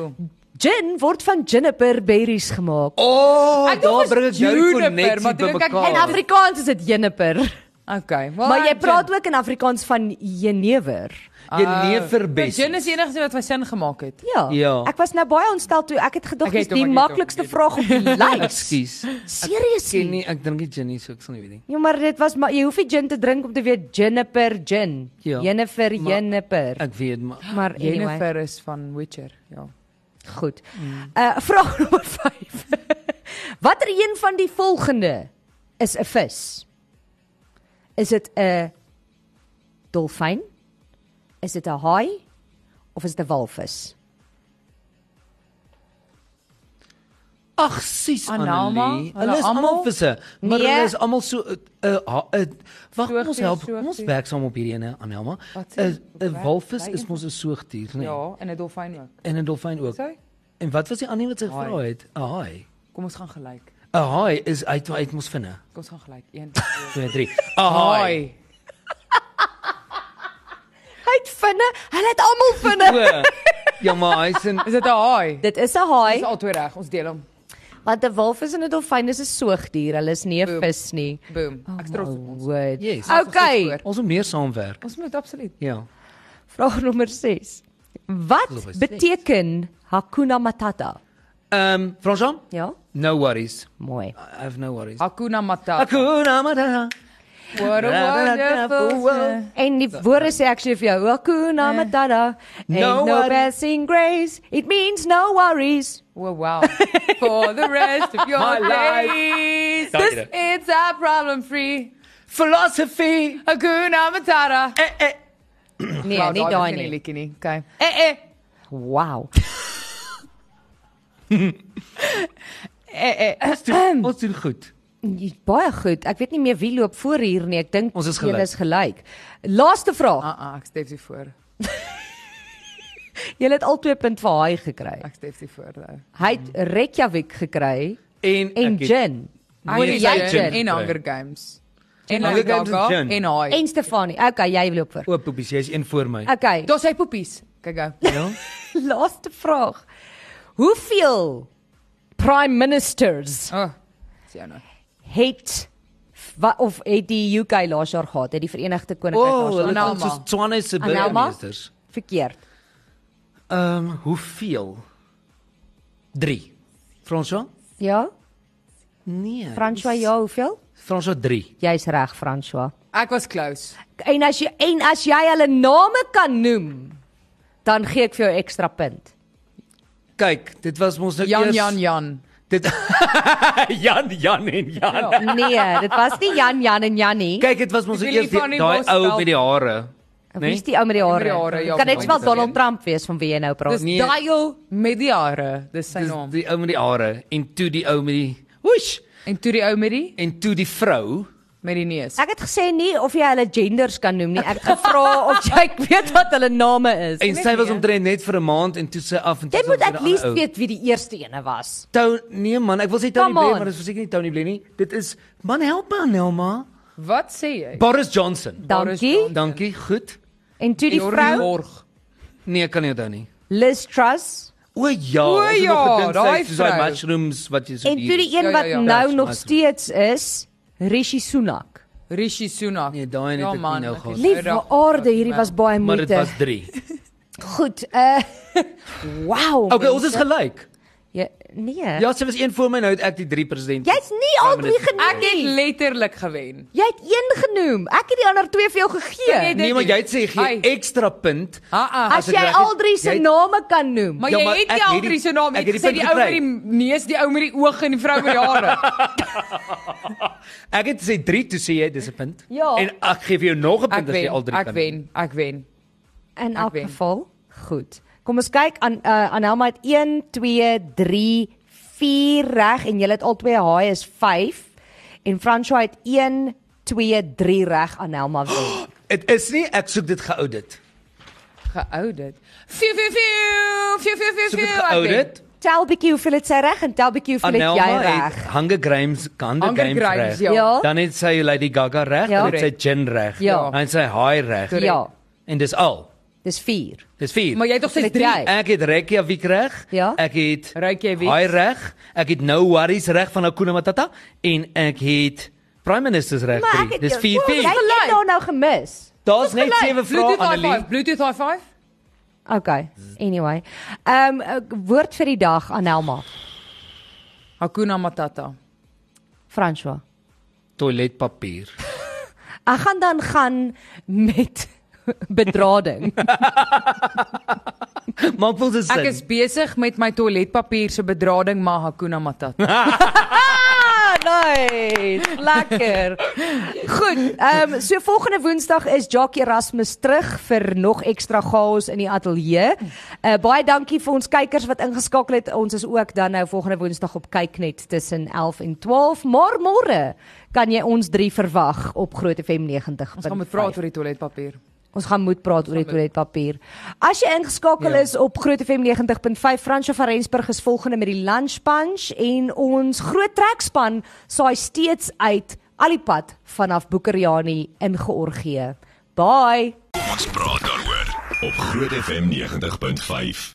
[SPEAKER 1] Gin word van juniper berries gemaak.
[SPEAKER 2] O, oh,
[SPEAKER 3] Ek dink
[SPEAKER 2] daar
[SPEAKER 3] is
[SPEAKER 2] bring ek jou die
[SPEAKER 3] juniper,
[SPEAKER 2] koneksie
[SPEAKER 3] maar toe
[SPEAKER 2] by
[SPEAKER 3] dink ek,
[SPEAKER 2] mekaar.
[SPEAKER 1] In Afrikaans is dit juniper,
[SPEAKER 3] Okay.
[SPEAKER 2] Ah,
[SPEAKER 3] Well,
[SPEAKER 1] maar jy
[SPEAKER 3] gin.
[SPEAKER 1] praat ook in Afrikaans van jenever.
[SPEAKER 2] Jenever
[SPEAKER 3] Maar
[SPEAKER 2] bes.
[SPEAKER 3] Gin Ah, is die enigste wat my sin gemaak het.
[SPEAKER 1] Ja.
[SPEAKER 2] Ja.
[SPEAKER 1] Ek was nou baie ontstel toe ek het gedog
[SPEAKER 3] Ek het
[SPEAKER 1] dis
[SPEAKER 3] hom,
[SPEAKER 1] die
[SPEAKER 3] ek het hom,
[SPEAKER 1] maklikste
[SPEAKER 3] ek het
[SPEAKER 1] vraag op die lys.
[SPEAKER 2] Ekskuus.
[SPEAKER 1] Seriously?
[SPEAKER 2] Ken nie, Nee, ek dink nie gin nie, so ek sal nie weet nie.
[SPEAKER 1] Ja, maar dit was maar jy hoef nie gin te drink om te weet juniper gin.
[SPEAKER 2] Ja.
[SPEAKER 1] Juniper
[SPEAKER 2] Maar-
[SPEAKER 1] juniper.
[SPEAKER 2] Ek weet maar.
[SPEAKER 1] Maar anyway.
[SPEAKER 3] Jennifer is van Witcher, ja.
[SPEAKER 1] Goed.
[SPEAKER 2] Mm.
[SPEAKER 1] Uh vraag nommer 5. Watter een van die volgende is 'n vis? Is dit 'n dolfyn? Is dit 'n haai of is dit 'n walvis?
[SPEAKER 2] Ag, sies
[SPEAKER 3] Analma,
[SPEAKER 2] Annelie.
[SPEAKER 3] hulle
[SPEAKER 2] Hulle is almal
[SPEAKER 3] almal?
[SPEAKER 2] visse, maar
[SPEAKER 1] Nee.
[SPEAKER 2] hulle is almal so 'n uh, uh, uh, wag, kom ons
[SPEAKER 3] Soogdier,
[SPEAKER 2] help. Kom ons
[SPEAKER 3] soogdier.
[SPEAKER 2] werk saam op hierdie ene, Anelma.
[SPEAKER 3] Wat
[SPEAKER 2] 'n
[SPEAKER 3] sê- wat
[SPEAKER 2] 'n
[SPEAKER 3] werk-
[SPEAKER 2] walvis
[SPEAKER 3] bly
[SPEAKER 2] is
[SPEAKER 3] een
[SPEAKER 2] mos 'n soogdier, nee.
[SPEAKER 3] Ja, en 'n dolfyn ook.
[SPEAKER 2] En 'n dolfyn ook.
[SPEAKER 3] Sê,
[SPEAKER 2] En wat was die ander wat sy
[SPEAKER 3] Haai.
[SPEAKER 2] gevra het? 'n Haai.
[SPEAKER 3] kom ons gaan gelyk.
[SPEAKER 2] 'n Haai is uit uit mos vinne.
[SPEAKER 3] Kom ons gaan gelyk. 1 2
[SPEAKER 2] 2 3. 'n Haai.
[SPEAKER 1] Hy het vinne, hulle het almal vinne.
[SPEAKER 2] O, Ja, maar hy's in
[SPEAKER 3] Is dit 'n haai?
[SPEAKER 1] Dit is 'n
[SPEAKER 3] Dis
[SPEAKER 1] haai,
[SPEAKER 3] al twee reg. Ons deel hom.
[SPEAKER 1] want 'n walvis en 'n dolfyn is 'n soogdier, hulle is nie 'n
[SPEAKER 3] Boom.
[SPEAKER 1] vis nie.
[SPEAKER 3] Boom.
[SPEAKER 1] Oh
[SPEAKER 3] Ek is trots
[SPEAKER 1] my
[SPEAKER 3] op ons.
[SPEAKER 1] word.
[SPEAKER 2] Yes.
[SPEAKER 1] Okay.
[SPEAKER 2] Ons moet meer saamwerk.
[SPEAKER 3] Ons moet absoluut.
[SPEAKER 2] Ja.
[SPEAKER 1] Vraag nommer 6. Wat
[SPEAKER 2] Geloof hy seks.
[SPEAKER 1] beteken Hakuna Matata?
[SPEAKER 2] Ehm, um, Francham?
[SPEAKER 1] Ja,
[SPEAKER 2] No worries.
[SPEAKER 1] mooi.
[SPEAKER 2] I have no worries.
[SPEAKER 3] Hakuna Matata.
[SPEAKER 2] Hakuna Matata.
[SPEAKER 3] What a wonderful world.
[SPEAKER 1] En die woorde sê actually vir jou Hakuna Matata.
[SPEAKER 2] No
[SPEAKER 1] No, no
[SPEAKER 2] worries.
[SPEAKER 1] passing grace. It means no worries.
[SPEAKER 3] Oh, wow. For the rest of your
[SPEAKER 2] My life.
[SPEAKER 3] days.
[SPEAKER 2] Dankie,
[SPEAKER 3] This
[SPEAKER 2] dankie.
[SPEAKER 3] it's a problem free.
[SPEAKER 2] Philosophy.
[SPEAKER 3] Hakuna Matata.
[SPEAKER 2] Eh eh.
[SPEAKER 1] Nee,
[SPEAKER 3] Wauw,
[SPEAKER 1] nie
[SPEAKER 3] daar
[SPEAKER 1] daai
[SPEAKER 3] is nie
[SPEAKER 1] nie.
[SPEAKER 3] liedjie nie. Okay.
[SPEAKER 1] Eh eh. Wow.
[SPEAKER 3] Eh eh.
[SPEAKER 2] Ons doen, ons doen goed.
[SPEAKER 1] Jy- Baie goed. Ek weet nie meer wie loop voor hier nie. Ek dink
[SPEAKER 2] Ons is
[SPEAKER 1] julle
[SPEAKER 2] gelyk.
[SPEAKER 1] is gelyk. Laaste vraag.
[SPEAKER 3] Ah ah, ek steef dit voor.
[SPEAKER 1] Julle het al 2 punt vir hy gekry.
[SPEAKER 3] Ek steef dit voor nou.
[SPEAKER 1] Hy het Reykjavik gekry
[SPEAKER 2] En
[SPEAKER 1] en
[SPEAKER 2] ek het-
[SPEAKER 1] gin.
[SPEAKER 2] Moenie
[SPEAKER 3] Ek
[SPEAKER 1] Moenie
[SPEAKER 3] het
[SPEAKER 1] jy
[SPEAKER 2] gin
[SPEAKER 1] gin.
[SPEAKER 3] en
[SPEAKER 2] kry.
[SPEAKER 3] Hunger Games. En
[SPEAKER 2] Hunger
[SPEAKER 3] Hunger
[SPEAKER 2] Games en
[SPEAKER 3] Games
[SPEAKER 2] gin.
[SPEAKER 3] en haai.
[SPEAKER 1] En Stefanie. Okay, jy loop voor.
[SPEAKER 2] O, poepies, jy's een voor my.
[SPEAKER 1] Okay.
[SPEAKER 3] Daar's hy poepies. Kyk gou.
[SPEAKER 2] Ja.
[SPEAKER 1] Laaste vraag. Hoeveel prime ministers
[SPEAKER 3] O. Sien nou.
[SPEAKER 1] het wa, of het die UK laas jaar gehad? Het die Verenigde
[SPEAKER 2] O,
[SPEAKER 1] Koninkryk laas
[SPEAKER 2] oh,
[SPEAKER 1] jaar?
[SPEAKER 2] hulle
[SPEAKER 3] Anelma.
[SPEAKER 2] het so Tswane se
[SPEAKER 1] Anelma?
[SPEAKER 2] burgemeesters.
[SPEAKER 1] Verkeerd.
[SPEAKER 2] Ehm, um, hoeveel? 3. Franso?
[SPEAKER 1] Ja?
[SPEAKER 2] Nee.
[SPEAKER 1] François, ja, hoeveel?
[SPEAKER 2] Franso 3.
[SPEAKER 1] Jy's reg, François.
[SPEAKER 3] Ek was close.
[SPEAKER 1] En as jy en as jy hulle name kan noem, dan gee ek vir jou ekstra punt.
[SPEAKER 2] Kyk, dit was mos nou
[SPEAKER 3] Jan
[SPEAKER 2] eers
[SPEAKER 3] Jan Jan.
[SPEAKER 2] Dit Jan Jan en Jan. Ja.
[SPEAKER 3] Ja.
[SPEAKER 1] Nee, dit was nie Jan Jan en Jannie.
[SPEAKER 2] Kyk, dit was mos nou
[SPEAKER 3] Ek wil
[SPEAKER 2] eers
[SPEAKER 3] nie van
[SPEAKER 2] die-
[SPEAKER 3] die
[SPEAKER 2] daai
[SPEAKER 3] bos
[SPEAKER 2] ou
[SPEAKER 3] wel-
[SPEAKER 2] met die hare. Nee?
[SPEAKER 1] Wie is die ou met die
[SPEAKER 3] Met die
[SPEAKER 1] hare?
[SPEAKER 3] hare, ja,
[SPEAKER 1] Kan net wel
[SPEAKER 3] Donald
[SPEAKER 1] Donald
[SPEAKER 3] Trump.
[SPEAKER 1] Trump wees van wie jy nou praat.
[SPEAKER 3] Dis
[SPEAKER 2] Nee.
[SPEAKER 3] Dayo met die jare. Dis sy
[SPEAKER 2] Dis
[SPEAKER 3] naam.
[SPEAKER 2] die ou met die hare en toe die ou met die woesh
[SPEAKER 3] En toe die ou met die
[SPEAKER 2] en toe die vrou.
[SPEAKER 3] met die neus.
[SPEAKER 1] Ek het gesê nie of jy hulle genders kan noem nie. Ek het gevra of jy weet wat hulle name is.
[SPEAKER 2] En sy was
[SPEAKER 3] nie.
[SPEAKER 2] omtrent net vir 'n maand en toe sy af en toe
[SPEAKER 1] Jy
[SPEAKER 2] sy
[SPEAKER 1] moet
[SPEAKER 2] was
[SPEAKER 1] at
[SPEAKER 2] weer 'n
[SPEAKER 1] least
[SPEAKER 2] ander ou.
[SPEAKER 1] weet wie die eerste ene was.
[SPEAKER 2] Tou nee man, ek wil sê
[SPEAKER 1] Come
[SPEAKER 2] Tony Blair,
[SPEAKER 1] on.
[SPEAKER 2] maar dit is verseker nie Tony Blair nie. Dit is man help my Nelma.
[SPEAKER 3] Wat sê jy?
[SPEAKER 2] Boris Johnson.
[SPEAKER 3] Boris
[SPEAKER 1] Dankie.
[SPEAKER 3] Johnson.
[SPEAKER 2] Dankie, goed.
[SPEAKER 1] En toe die
[SPEAKER 3] Jordi
[SPEAKER 1] vrou
[SPEAKER 3] Borg.
[SPEAKER 2] Nee, ek kan nie onthou nie.
[SPEAKER 1] Liz Truss
[SPEAKER 2] O ja,
[SPEAKER 3] O,
[SPEAKER 2] ons het
[SPEAKER 3] ja,
[SPEAKER 2] nog gedink sy
[SPEAKER 3] daai
[SPEAKER 2] het soos daai
[SPEAKER 3] vrou.
[SPEAKER 2] mushrooms wat jy so
[SPEAKER 1] en toe
[SPEAKER 2] duur
[SPEAKER 1] die
[SPEAKER 2] is.
[SPEAKER 1] een
[SPEAKER 3] Ja, ja,
[SPEAKER 1] wat
[SPEAKER 3] ja.
[SPEAKER 1] nou
[SPEAKER 2] Dis
[SPEAKER 1] nog
[SPEAKER 2] my toe.
[SPEAKER 1] steeds is, Rishi Sunak.
[SPEAKER 3] Rishi Sunak. Ja,
[SPEAKER 2] Nee, daai net ek nie nou gehad.
[SPEAKER 1] Liewe aarde, hierdie was baie
[SPEAKER 2] maar dit
[SPEAKER 1] moeite.
[SPEAKER 2] was 3.
[SPEAKER 1] Goed. Uh wow.
[SPEAKER 2] Okay, ons is gelyk.
[SPEAKER 1] Ja, nee.
[SPEAKER 2] Ja, sy was een voor my nou het ek die 3 president.
[SPEAKER 1] Jy's nie al drie genoem
[SPEAKER 3] Ek het
[SPEAKER 1] nie.
[SPEAKER 3] letterlik gewen.
[SPEAKER 1] Jy het een genoem. Ek het die ander twee vir jou
[SPEAKER 3] Jy
[SPEAKER 1] gegee.
[SPEAKER 3] het
[SPEAKER 2] Nee, maar
[SPEAKER 3] dit
[SPEAKER 2] jy het sê gee
[SPEAKER 3] Ai.
[SPEAKER 2] ekstra punt.
[SPEAKER 3] Ah ah.
[SPEAKER 1] As
[SPEAKER 2] as ek
[SPEAKER 1] jy
[SPEAKER 2] reg is,
[SPEAKER 1] al drie se
[SPEAKER 2] jy het-
[SPEAKER 1] name kan noem.
[SPEAKER 3] Maar
[SPEAKER 2] Ja,
[SPEAKER 3] jy
[SPEAKER 2] maar
[SPEAKER 3] het
[SPEAKER 2] ek
[SPEAKER 3] nie
[SPEAKER 2] het
[SPEAKER 3] al
[SPEAKER 2] die-
[SPEAKER 3] drie se naam.
[SPEAKER 2] ek
[SPEAKER 3] Ek
[SPEAKER 2] het die
[SPEAKER 3] sê die
[SPEAKER 2] punt
[SPEAKER 3] ou met
[SPEAKER 2] gekry.
[SPEAKER 3] die neus, die ou met die oog en die vrou met die hare.
[SPEAKER 2] Ek het sê 3 toe sê jy dis 'n punt.
[SPEAKER 1] Ja.
[SPEAKER 2] En ek gee vir jou nog 'n
[SPEAKER 3] Ek
[SPEAKER 2] punt as jy al
[SPEAKER 3] wen.
[SPEAKER 2] 3 kan.
[SPEAKER 3] Ek wen. Ek wen.
[SPEAKER 1] In
[SPEAKER 3] Ek
[SPEAKER 1] elk
[SPEAKER 3] wen.
[SPEAKER 1] geval, goed. Kom ons kyk aan uh, aan Helma het 1 2 3 4 reg en jy het al twee haai is 5 en François het 1 2 3 reg aan Helma wen.
[SPEAKER 2] Dit is nie ek soek dit geaudit.
[SPEAKER 3] Geoudit. Fiu fiu fiu. Fiu fiu fiu
[SPEAKER 2] Soek
[SPEAKER 3] fiu.
[SPEAKER 2] dit
[SPEAKER 3] Ek wen.
[SPEAKER 2] geaudit.
[SPEAKER 1] Tel bietjie hoeveel het sy reg en tel bietjie hoeveel het jy
[SPEAKER 2] Anelma
[SPEAKER 1] reg.
[SPEAKER 2] het Hunger Games, Hunger
[SPEAKER 3] Hunger
[SPEAKER 2] Games
[SPEAKER 3] Games,
[SPEAKER 2] reg.
[SPEAKER 3] ja.
[SPEAKER 1] Ja.
[SPEAKER 2] Dan het sy Lady Gaga reg,
[SPEAKER 1] Ja.
[SPEAKER 2] dan het sy Jin reg,
[SPEAKER 1] Ja.
[SPEAKER 2] dan het sy Haai reg.
[SPEAKER 1] Ja,
[SPEAKER 2] En dis al.
[SPEAKER 1] dis 4.
[SPEAKER 2] Dis 4.
[SPEAKER 3] Maar jy het tog sê
[SPEAKER 1] Dit
[SPEAKER 3] drie.
[SPEAKER 1] jy.
[SPEAKER 2] Ek het Reykjavik reg.
[SPEAKER 1] Ja.
[SPEAKER 2] Ek het
[SPEAKER 3] Reykjavik.
[SPEAKER 2] Haai reg. Ek het No Worries reg van Akuna Matata en ek het Prime Minister's reg.
[SPEAKER 1] Maar
[SPEAKER 2] drie.
[SPEAKER 1] ek het
[SPEAKER 2] Dis
[SPEAKER 1] Wow,
[SPEAKER 2] 4
[SPEAKER 1] Jy
[SPEAKER 2] punte.
[SPEAKER 1] het
[SPEAKER 3] Gelyk.
[SPEAKER 1] nou nou gemis.
[SPEAKER 2] Daar's net sewe vrae
[SPEAKER 3] Bluetooth high
[SPEAKER 2] Annelie.
[SPEAKER 3] five. Bluetooth high five.
[SPEAKER 1] Okay. Anyway. Ehm um, woord vir die dag aan Helma.
[SPEAKER 3] Hakuna Matata.
[SPEAKER 1] François.
[SPEAKER 2] Toiletpapier.
[SPEAKER 1] Ek gaan dan gaan met bedrading.
[SPEAKER 2] Maak wel se sin.
[SPEAKER 3] Ek is besig met my toiletpapier se bedrading maar Hakuna Matata.
[SPEAKER 1] Ah, nice. Lekker. Goed. Ehm um, so volgende Woensdag is Jackie Erasmus terug vir nog ekstra chaos in die ateljee. Uh, baie dankie vir ons kykers wat ingeskakel het. Ons is ook dan nou volgende Woensdag op Kyknet tussen 11 en 12, maar môre kan jy ons drie verwag op Groot FM 90.
[SPEAKER 3] Ons gaan moet praat oor die toiletpapier.
[SPEAKER 1] Ons gaan moet praat oor die toiletpapier. As jy ingeskakel
[SPEAKER 2] Ja.
[SPEAKER 1] is op Groot FM 90.5, Fransjo van Rensburg is volgende met die Lunch Punch en ons groot trekspan saai steeds uit al die pad vanaf Boekerjani in Georgië. Bye.
[SPEAKER 4] Kom ons praat daaroor op Groot FM 90.5.